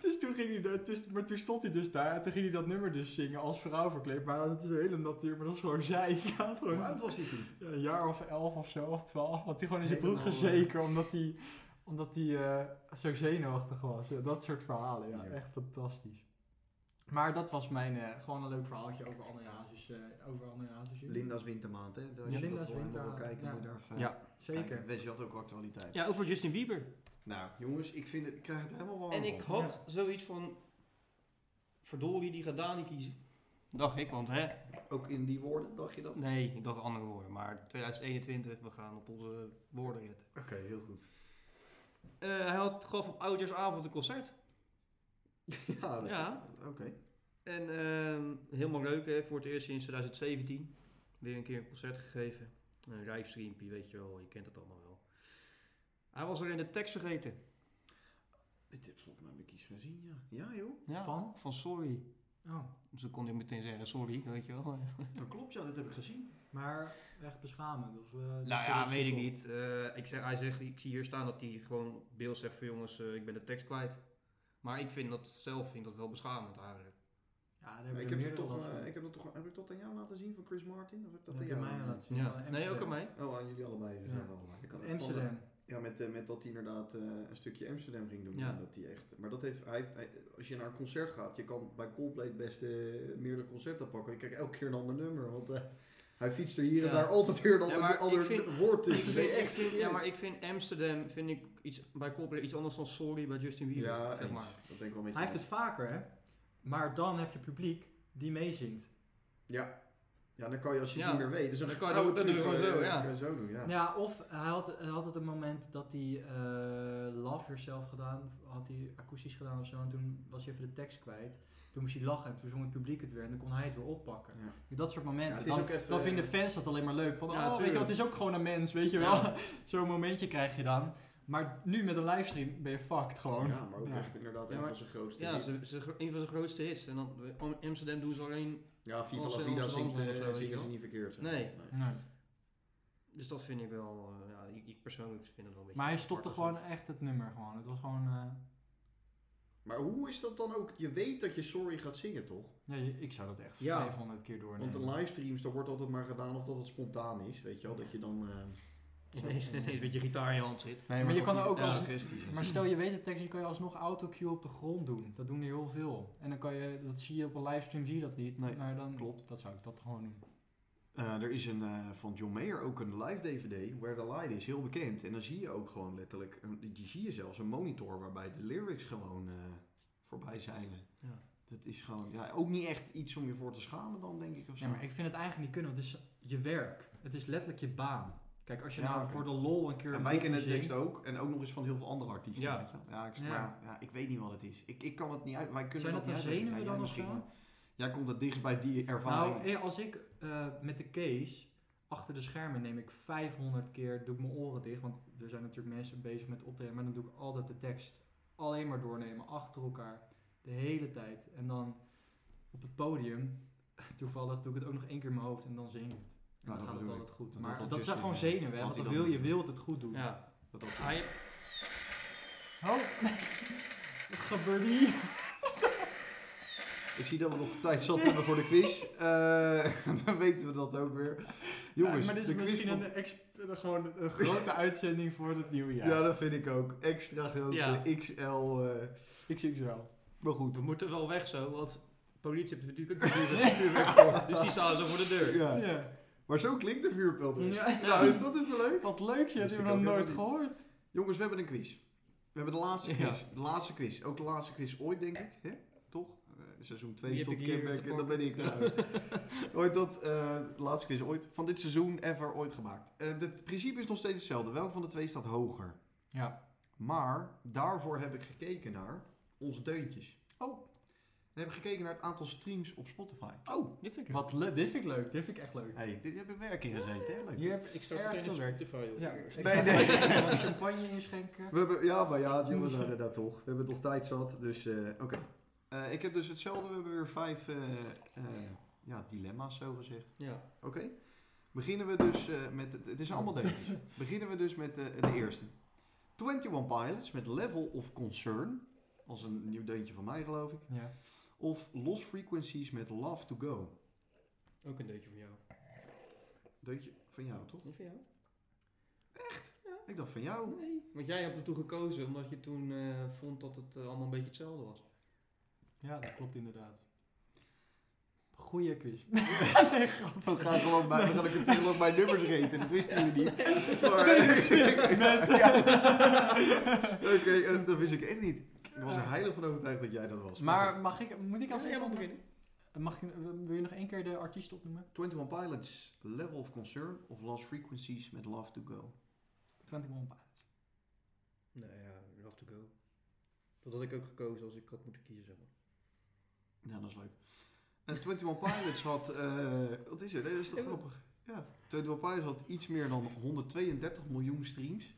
S3: dus toen ging hij daar, dus, maar toen stond hij dus daar en toen ging hij dat nummer dus zingen als vrouw verkleed. Maar dat is een hele natuur, maar dat is gewoon zij. Ja,
S2: Hoe
S3: gewoon,
S2: oud was hij toen?
S3: ja, een jaar of elf of zo, of twaalf, had hij gewoon in zijn broek
S2: Helemaal,
S3: gezeken omdat hij, omdat hij eh, zo zenuwachtig was. Ja, dat soort verhalen, ja,
S2: Ja.
S3: echt fantastisch. Maar dat was mijn, eh, gewoon een leuk verhaaltje over André Hazes, eh, over André Hazes.
S2: Linda's wintermaand, hè? Als
S3: Ja,
S2: je
S3: Linda's
S2: dat wil helemaal wil
S3: wintermaand,
S2: kijken,
S3: ja.
S2: moet je daar even
S1: Ja.
S3: Zeker.
S2: kijken. Wes, je had ook actualiteit.
S1: Ja, over Justin Bieber.
S2: Nou, jongens, ik, vind het, ik krijg het helemaal warm
S1: En
S2: van.
S1: ik had zoiets van... Verdorie, die gaat Dani kiezen. Dacht ik, want hè...
S2: Ook in die woorden, dacht je dat? Oké,
S1: Nee, ik dacht andere woorden. Maar 2021, we gaan op onze woorden letten.
S2: heel goed.
S1: Eh, hij had, gaf op Oudjaarsavond een concert.
S2: ja, dat-
S1: Ja.
S2: oké.
S1: En ehm, helemaal leuk, hè? voor het eerst sinds 2017. Weer een keer een concert gegeven. Een livestreampje, weet je wel, je kent het allemaal wel. Hij was er in de tekst vergeten.
S2: Dit heb volgens mij heb ik iets gezien, ja. Ja, joh.
S3: Van?
S1: Van sorry.
S3: Oh.
S1: Dus dan kon hij meteen zeggen sorry, weet je wel.
S2: Dat klopt, ja, dat heb ik gezien.
S3: Maar echt beschamend? Of, eh, dat
S1: Nou
S3: je
S1: ja,
S3: dat
S1: weet ik
S3: voelt?
S1: niet. Eh, ik zeg, hij zegt, ik zie hier staan dat hij gewoon beeld zegt van jongens, eh, ik ben de tekst kwijt. Maar ik vind dat zelf vind dat wel beschamend eigenlijk.
S3: Ja, daar
S2: Maar
S3: heb
S2: ik
S3: ik
S2: heb,
S3: er
S2: het
S3: meerdere
S2: toch,
S3: last van.
S2: eh, ik heb, het toch, heb ik dat aan jou laten zien van Chris Martin? Of heb ik dat
S3: Dat
S2: aan
S3: heb je
S2: jou
S3: mij
S2: laten
S3: laten zien. van
S1: Nee, ook
S3: Amsterdam.
S1: aan mij.
S2: zien? Oh, aan jullie allebei.
S3: Ja.
S2: Ja. allebei. Ik had het van de-
S3: Amsterdam.
S2: Ja, met, eh, met dat hij inderdaad eh, een stukje Amsterdam ging doen.
S1: Ja.
S2: En dat hij echt, maar dat heeft, hij heeft, hij- als je naar een concert gaat, je kan bij Coldplay het beste eh, meerdere concerten pakken. Je krijgt elke keer een ander nummer, want eh, hij fietst er hier en
S1: Ja.
S2: daar altijd weer een ander,
S1: maar ik
S2: ander
S1: vind-
S2: woord
S1: Ik
S2: tussen.
S1: vind,
S2: Nee,
S1: ik vind- ja,
S2: serieus.
S1: maar ik vind Amsterdam vind ik iets, bij Coldplay iets anders dan sorry bij Justin Bieber.
S2: Ja,
S1: zeg
S2: eens.
S1: maar.
S2: dat denk ik wel een beetje.
S3: Hij heeft het vaker, hè? Maar dan heb je publiek die meezingt.
S2: Ja. ja, dan kan je als je het
S1: Ja.
S2: niet meer weet. Dus
S1: Dan
S2: een
S1: kan je
S2: oude
S1: dat- dat
S2: truc,
S1: doe je
S2: eh,
S1: gewoon zo, ja.
S2: kan je zo doen, ja.
S3: Ja. of hij had, hij had het een moment dat hij eh, Love Yourself gedaan, had hij akoestisch gedaan of zo. En toen was hij even de tekst kwijt. Toen moest hij lachen en toen zong het publiek het weer en dan kon hij het weer oppakken.
S2: Ja.
S3: Dat soort momenten.
S2: Ja, het is
S3: dan,
S2: ook even-
S3: dan vinden fans dat alleen maar leuk. Van,
S1: Ja,
S3: oh, weet je wel,
S1: tuurlijk.
S3: het is ook gewoon een mens, weet je wel. Zo'n momentje krijg je dan. Maar nu met een livestream ben je fucked gewoon.
S2: Ja, maar ook
S3: Ja.
S2: echt inderdaad
S1: Ja,
S2: een
S1: maar-
S2: van zijn grootste
S1: Ja,
S2: hits.
S1: ze, ze, een van zijn grootste hits. En dan Am- Amsterdam doen ze alleen.
S2: Ja, Viva
S1: Als
S2: La
S1: in
S2: Vida
S1: Amsterdam
S2: zingt, eh,
S1: of zo, weet je
S2: zingen ze
S1: wel.
S2: niet verkeerd. zeg.
S1: Nee.
S3: Nee.
S1: Dus dat vind ik wel. eh, ja, ik, ik persoonlijk vind het wel een beetje.
S3: Maar hij
S1: apart
S3: stopte
S1: of zo.
S3: gewoon echt het nummer gewoon. Het was gewoon... eh,
S2: Maar hoe is dat dan ook? Je weet dat je Sorry gaat zingen, toch?
S3: ja, je- ik zou dat echt
S1: Ja.
S3: 500 keer doornemen.
S2: Want de livestreams, daar wordt altijd maar gedaan of dat het spontaan is, weet je wel. Dat je dan... eh,
S1: Ineens, ineens met je gitaar in je hand zit.
S3: Nee, maar je kan er ook
S1: Ja.
S3: als...
S2: suggesties en
S3: Maar
S2: zo.
S3: stel je weet de tekst, dan kan je alsnog autocue op de grond doen. Dat doen er heel veel. En dan kan je, dat zie je op een livestream, zie je dat niet.
S2: Nee,
S3: maar dan,
S2: klopt.
S3: Dat zou ik dat gewoon doen.
S2: Eh, er is een, eh, van John Mayer ook een live DVD, Where the Light is, heel bekend. En dan zie je ook gewoon letterlijk, een, die zie je zelfs een monitor waarbij de lyrics gewoon eh, voorbij zeilen.
S1: Ja.
S2: Dat is gewoon, ja, ook niet echt iets om je voor te schamen dan, denk ik. Of zo.
S3: Ja, maar ik vind het eigenlijk niet kunnen, want het is je werk. Het is letterlijk je baan. Kijk, als je
S2: Ja,
S3: nou
S2: oké.
S3: voor de lol een keer...
S2: en
S3: een
S2: wij kennen de
S3: liedje
S2: tekst
S3: zingt,
S2: ook, en ook nog eens van heel veel andere artiesten.
S1: Ja.
S2: weet je wel. ja, ik, maar
S3: Ja.
S2: ja. ik weet niet wat het is. Ik, ik kan het niet uit, wij kunnen
S3: Zijn
S2: dat
S3: dat de
S2: niet uitleggen.
S3: zenuwen
S2: Ja, jij
S3: dan of
S2: misschien,
S3: zo?
S2: maar Jij komt het dichtst bij die ervaring.
S3: Nou, eh, als ik eh, met de case achter de schermen neem ik 500 keer, doe ik mijn oren dicht, want er zijn natuurlijk mensen bezig met optreden, maar dan doe ik altijd de tekst alleen maar doornemen, achter elkaar, de hele tijd. En dan op het podium, toevallig, doe ik het ook nog één keer in mijn hoofd en dan zing ik het. En dan
S2: Nou, dat
S3: gaat het
S2: bedoel
S3: altijd goed.
S2: Dat dus
S3: maar
S2: doet
S3: dat zijn
S2: Justin,
S3: gewoon zenuwen, hè, want
S2: wat hij
S3: dan
S2: dan
S3: wil je
S2: doet.
S3: wilt het goed doen.
S1: Ja.
S2: Dat ook.
S1: Ah, je-
S3: Oh, wat gebeurt hier?
S2: Ik zie dat we nog tijd zat hebben voor de quiz. Eh, dan weten we dat ook weer. Jongens,
S3: Ja, maar dit is
S2: de quiz
S3: misschien
S2: van-
S3: een, ex- gewoon een grote uitzending voor het nieuwe
S2: Ja.
S3: jaar.
S2: dat vind ik ook. Extra grote
S1: Ja.
S2: XL. eh,
S3: Ik zie het wel.
S2: maar goed.
S1: We moeten wel weg zo, want politie heeft natuurlijk ook een vuurwerk. Dus die staan zo voor de deur.
S2: Ja.
S3: Ja.
S2: Maar zo klinkt de vuurpijl dus.
S3: Ja.
S2: Nou, is dat even leuk?
S3: Wat leuk, je hebt
S2: Wist
S3: hem
S2: ik
S3: nog
S2: ook
S3: nooit
S2: helemaal
S3: gehoord.
S2: Jongens, we hebben een quiz. We hebben de laatste
S1: Ja.
S2: quiz. De laatste quiz. Ook de laatste quiz ooit, denk ik. Hè? Toch? Eh, seizoen 2
S1: Wie heb
S2: tot
S1: ik hier
S2: Kenberg.
S1: te
S2: en Dat
S1: pakken?
S2: ben ik trouwens. ooit dat, eh, de laatste quiz ooit. Van dit seizoen ever ooit gemaakt. Eh, het principe is nog steeds hetzelfde. Welke van de twee staat hoger?
S3: Ja.
S2: Maar daarvoor heb ik gekeken naar onze deuntjes.
S3: Oh.
S2: En heb ik gekeken naar het aantal streams op Spotify.
S3: Oh,
S1: Dit vind ik
S3: wat leuk. Dit vind ik leuk. Dit vind ik echt leuk.
S2: Hey, dit hebben werk in gezeten, hè? Leuk.
S3: Hier heb
S1: Ik start
S3: erg
S1: meteen
S3: veel
S1: een
S3: werk.
S1: Spotify op.
S3: Ja,
S1: Eerst.
S3: ik
S2: Nee,
S3: ga
S2: nee.
S3: even wat champagne inschenken.
S2: We hebben, ja, maar ja, jongens zijn daar toch. We hebben toch tijd zat, dus eh, oké. Eh, ik heb dus hetzelfde, we hebben weer vijf eh, eh, ja, dilemma's zo gezegd.
S1: Ja.
S2: Oké. Beginnen we dus eh, met, het, het is allemaal deuntjes. Beginnen we dus met eh, de eerste. 21 Pilots met Level of Concern. Als een nieuw deuntje van mij geloof ik.
S3: Ja.
S2: Of Lost Frequencies met Love to Go.
S1: Ook een deuntje van jou.
S2: Deuntje van jou, toch?
S1: Niet van jou?
S2: Ik dacht van jou.
S1: Nee. Want jij hebt ertoe gekozen omdat je toen eh, vond dat het eh, allemaal een beetje hetzelfde was.
S3: ja, dat klopt inderdaad. Goeie quiz.
S2: We gaan gewoon bij, we gaan ook natuurlijk bij nummers reten, dat wisten jullie niet. Maar- Ja. Oké, eh, dat wist ik echt niet. Ik was er heilig van overtuigd dat jij dat was.
S3: Maar mag ik, moet ik als
S1: Ja, jij
S3: eerste
S1: mag
S3: beginnen? Mag je, wil je nog één keer de artiest opnoemen?
S2: 21 Pilots, Level of Concern of Lost Frequencies met Love to Go.
S3: 21 Pilots.
S1: Nou ja, love to go. Dat had ik ook gekozen als ik had moeten kiezen, zeg maar.
S2: Ja, dat is leuk. En 21 Pilots had, eh, wat is er? Nee, dat is toch grappig? Ja. 21 Pilots had iets meer dan 132 miljoen streams.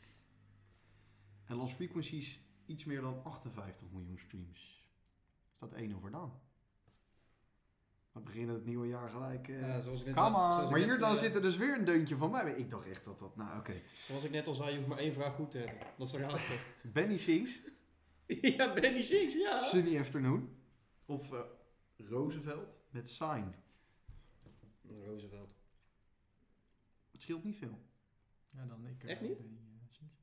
S2: En Lost Frequencies iets meer dan 58 miljoen streams. Staat één over dan. We beginnen het nieuwe jaar gelijk. eh.
S1: Ja, zoals ik net,
S3: come on.
S1: zoals ik
S2: maar
S1: net,
S2: hier dan
S1: eh,
S2: zit er dus weer een deuntje van mij. Ik dacht echt dat dat, nou oké.
S1: Zoals ik net al zei, je hoeft maar één vraag goed te hebben. Dat is de laatste.
S2: Benny Sings,
S1: ja, Benny Six, ja.
S2: Sunny Afternoon. Of eh, Roosevelt met Sign.
S1: Roosevelt.
S2: Het scheelt niet veel.
S3: Ja, dan ik. eh,
S1: Echt niet?
S3: ben die, eh, Sings.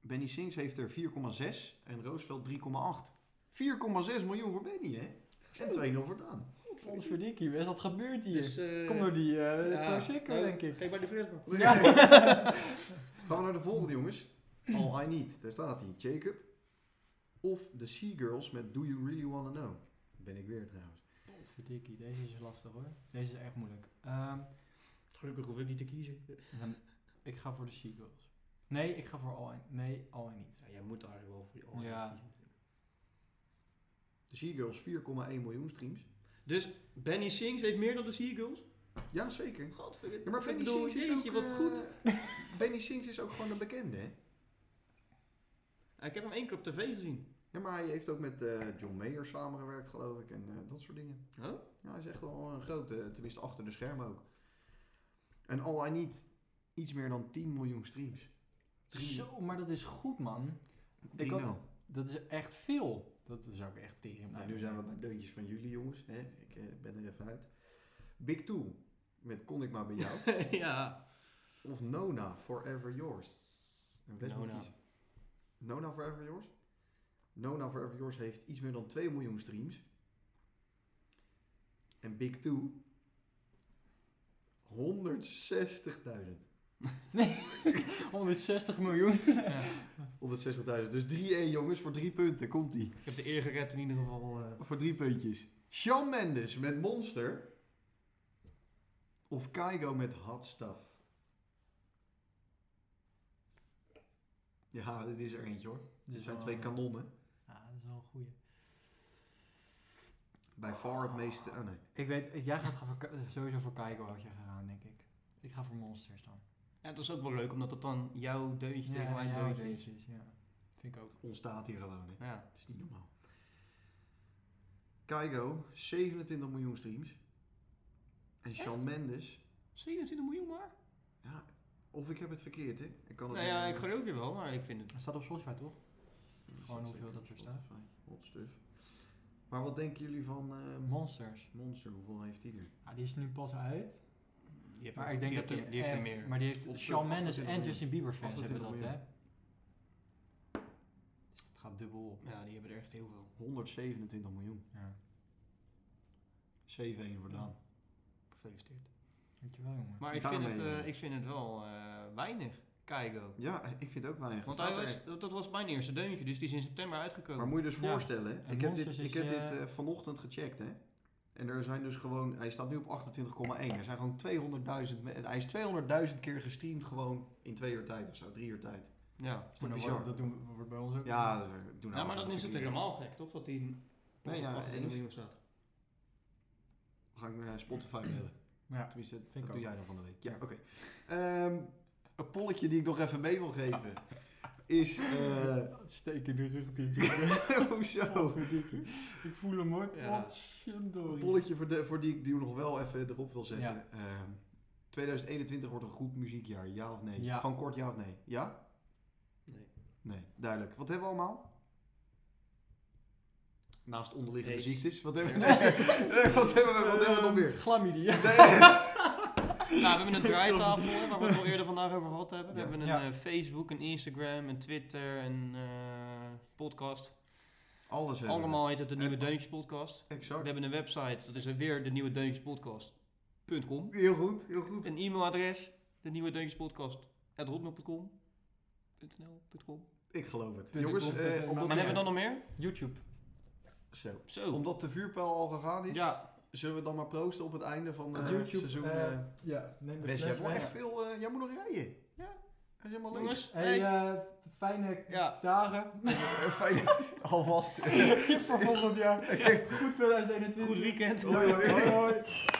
S2: Benny Sings heeft er 4,6 en Roosevelt 3,8. 4,6 miljoen voor Benny, hè? En 2 0 voor Daan.
S3: Godverdikkie, wat is- wat gebeurt hier?
S1: Dus, eh,
S3: Kom door die eh
S1: ja,
S3: Prosecco,
S1: nou,
S3: denk ik.
S1: Geef maar de fles maar.
S2: Gaan we naar de volgende, jongens. All I Need, daar staat hij. Jacob. Of The Sea Girls met Do You Really Wanna Know. Ben ik weer trouwens.
S3: Godverdikkie, deze is lastig hoor. Deze is echt moeilijk. Ehm,
S1: Gelukkig hoef ik niet te kiezen.
S3: dan- ik ga voor de Seagulls. Nee, ik ga voor All I, nee, All I Need.
S1: Ja, jij moet eigenlijk wel voor die andere
S3: Ja.
S1: kiezen.
S2: The Sea Girls 4,1 miljoen streams.
S1: Dus Benny Sings heeft meer dan de Seagulls?
S2: Ja, zeker.
S1: Godverdomme.
S2: Ja, maar Benny Sings is ook...
S1: jeetje, wat
S2: eh,
S1: goed.
S2: Benny Sings is ook gewoon een bekende, hè?
S1: Ik heb hem één keer op tv gezien.
S2: Ja, maar hij heeft ook met eh, John Mayer samengewerkt, geloof ik, en eh, dat soort dingen.
S1: Oh?
S2: Ja, hij is echt wel een grote, eh, tenminste achter de schermen ook. En al hij niet iets meer dan 10 miljoen streams. Drie-
S3: Zo, maar dat is goed man. Ik
S2: 3-0.
S3: had- Dat is echt veel. Dat zou ik echt tegen
S2: Nou, nu zijn we bij deuntjes van jullie, jongens. Hè? Ik eh, ben er even uit. Big Two, met Kon ik maar bij jou.
S1: ja.
S2: of Nona, Forever Yours. En best moet
S1: Nona.
S2: kiezen. Nona Forever Yours? Nona Forever Yours heeft iets meer dan 2 miljoen streams. En Big Two... 160.000.
S3: 160 miljoen.
S2: 160.000. Dus 3-1 jongens voor 3 punten. Komt ie.
S1: Ik heb de eer gered in ieder geval. eh.
S2: Voor 3 puntjes. Shawn Mendes met Monster. Of Kaigo met Hot Stuff. Ja, dit is er eentje hoor. Dit
S3: Oh.
S2: zijn twee kanonnen.
S3: Dus eh, Ja, dat is wel een goeie.
S2: Bij far het oh meeste... Oh nee.
S3: Ik weet, jij gaat gaan voor, Ka- sowieso voor Kaigo had je gegaan, denk ik. Ik ga voor Monsters dan.
S1: Ja, dat is ook wel leuk, omdat dat dan jouw deuntje tegen mijn
S3: ja,
S1: deuntje is.
S3: precies, ja. Vind ik ook.
S2: Ontstaat hier gewoon, hè.
S1: Ja.
S2: Dat is niet normaal. Kaigo, 27 miljoen streams. En Shawn Mendes.
S1: 27 miljoen maar?
S2: Ja, of ik heb het verkeerd, hè. Ik kan het
S1: Nou
S2: niet-
S1: ja, ik geloof je wel, maar ik vind het...
S3: Het staat op Spotify toch?
S2: Dat
S3: gewoon
S2: staat
S3: hoeveel
S2: zeker
S3: dat
S2: op
S3: er staat.
S2: Spotify. Hot stuff. Maar wat denken jullie van eh,
S3: Monsters.
S2: Monster? Hoeveel heeft hij er?
S3: Ja, Ah, die is nu pas uit.
S1: Je hebt
S3: Maar
S1: er-
S3: ik denk
S1: je
S3: dat
S1: hebt
S3: die,
S1: er- die heeft er
S3: echt-
S1: meer.
S3: Maar die heeft
S2: Opschrift
S3: Shawn Mendes en
S2: 28
S3: Justin Bieber fans hebben
S2: 28
S3: dat,
S2: miljoen.
S3: hè? Dus het gaat dubbel op.
S1: Ja, die hebben er echt heel veel.
S2: 127 miljoen.
S3: Ja.
S2: 7-1 voor Daan.
S1: Gefeliciteerd.
S3: Dankjewel, jongen.
S1: Maar ik vind,
S2: Daarmee,
S1: het, eh,
S2: eh,
S1: ik vind het wel eh, weinig, Kaigo.
S2: Ja, ik vind het ook weinig.
S1: Want
S2: Het
S1: hij
S2: staat er
S1: was,
S2: echt.
S1: dat dat was mijn eerste deuntje, dus die is in september uitgekomen.
S2: Maar moet je dus
S3: Ja.
S2: voorstellen, hè?
S3: En
S2: ik heb dit,
S3: Monsters is,
S2: ik heb dit
S3: eh,
S2: eh, vanochtend gecheckt, hè. En er zijn dus gewoon, hij staat nu op 28,1. Er zijn gewoon 200.000, me- hij is 200.000 keer gestreamd gewoon in twee uur tijd of zo, drie uur tijd.
S1: Ja,
S2: Maar
S3: Maar
S2: dat
S3: dat,
S2: bizar.
S3: wordt, dat doen we, wordt bij ons ook.
S2: Ja, dat doen nou
S1: ja maar
S2: alsof
S1: dan is het
S2: natuurlijk-
S1: helemaal gek, toch? Dat die pas
S2: Nee,
S1: op
S2: ja,
S1: 18
S2: eens.
S1: miljoen staat.
S2: We gaan naar eh, Spotify bellen.
S3: Ja.
S2: Tenminste, dat
S3: ik
S2: doe
S3: ook.
S2: jij dan van de week. Ja, oké. Ehm, een polletje die ik nog even mee wil geven is... eh,
S3: Het steek in de rug dit, jongen.
S2: hoezo?
S3: ik voel hem hoor.
S1: Ja.
S2: Een
S3: Potverdorie.
S2: polletje voor, de, voor die ik die nog wel even erop wil zetten.
S3: Ja.
S2: Ehm, 2021 wordt een goed muziekjaar, ja of nee?
S3: Ja.
S2: Gewoon kort ja of nee? Ja?
S1: Nee.
S2: Nee, duidelijk. Wat hebben we allemaal? Naast onderliggende
S1: Aids.
S2: ziektes. Wat hebben we, nee, nee, wat hebben we, wat hebben we nog
S3: Ehm,
S2: meer?
S3: Chlamydia.
S1: Nou, we hebben een draaitafel, waar we het al eerder vandaag over gehad hebben. We
S2: Ja.
S1: hebben een
S3: Ja.
S1: eh, Facebook, een Instagram, een Twitter, een eh, podcast.
S2: Alles hebben we.
S1: Allemaal heet het de Nieuwe
S2: En-
S1: Deuntjes Podcast. We
S2: Exact.
S1: hebben een website, dat is weer de Nieuwe Deuntjes Podcast.com.
S2: Heel goed, heel goed.
S1: Een e-mailadres, de Nieuwe Deuntjes Podcast. hotmail.com. .nl, .com.
S2: Ik geloof het.
S3: Punt
S2: Jongens,
S3: op,
S2: eh,
S3: punt, eh,
S2: omdat
S1: Maar
S2: de-
S1: hebben we dan nog meer?
S3: YouTube.
S2: Zo.
S1: Zo.
S2: Omdat de vuurpijl al gegaan is,
S1: Ja,
S2: zullen we dan maar proosten op het einde van eh,
S3: YouTube.
S2: seizoen.
S3: eh,
S2: eh
S3: ja, neem de
S2: Wes,
S3: fles
S2: jij hebt wel
S3: mee.
S2: echt veel... eh, jij moet nog rijden.
S1: Ja.
S2: Dat is helemaal leuk.
S1: jongens.
S3: Hey,
S1: Hey.
S3: eh, fijne
S1: Ja.
S3: dagen.
S2: Fijne... Alvast.
S3: voor volgend jaar. Goed 2021.
S1: Goed weekend.
S2: Hoi, hoi.
S3: hoi. hoi.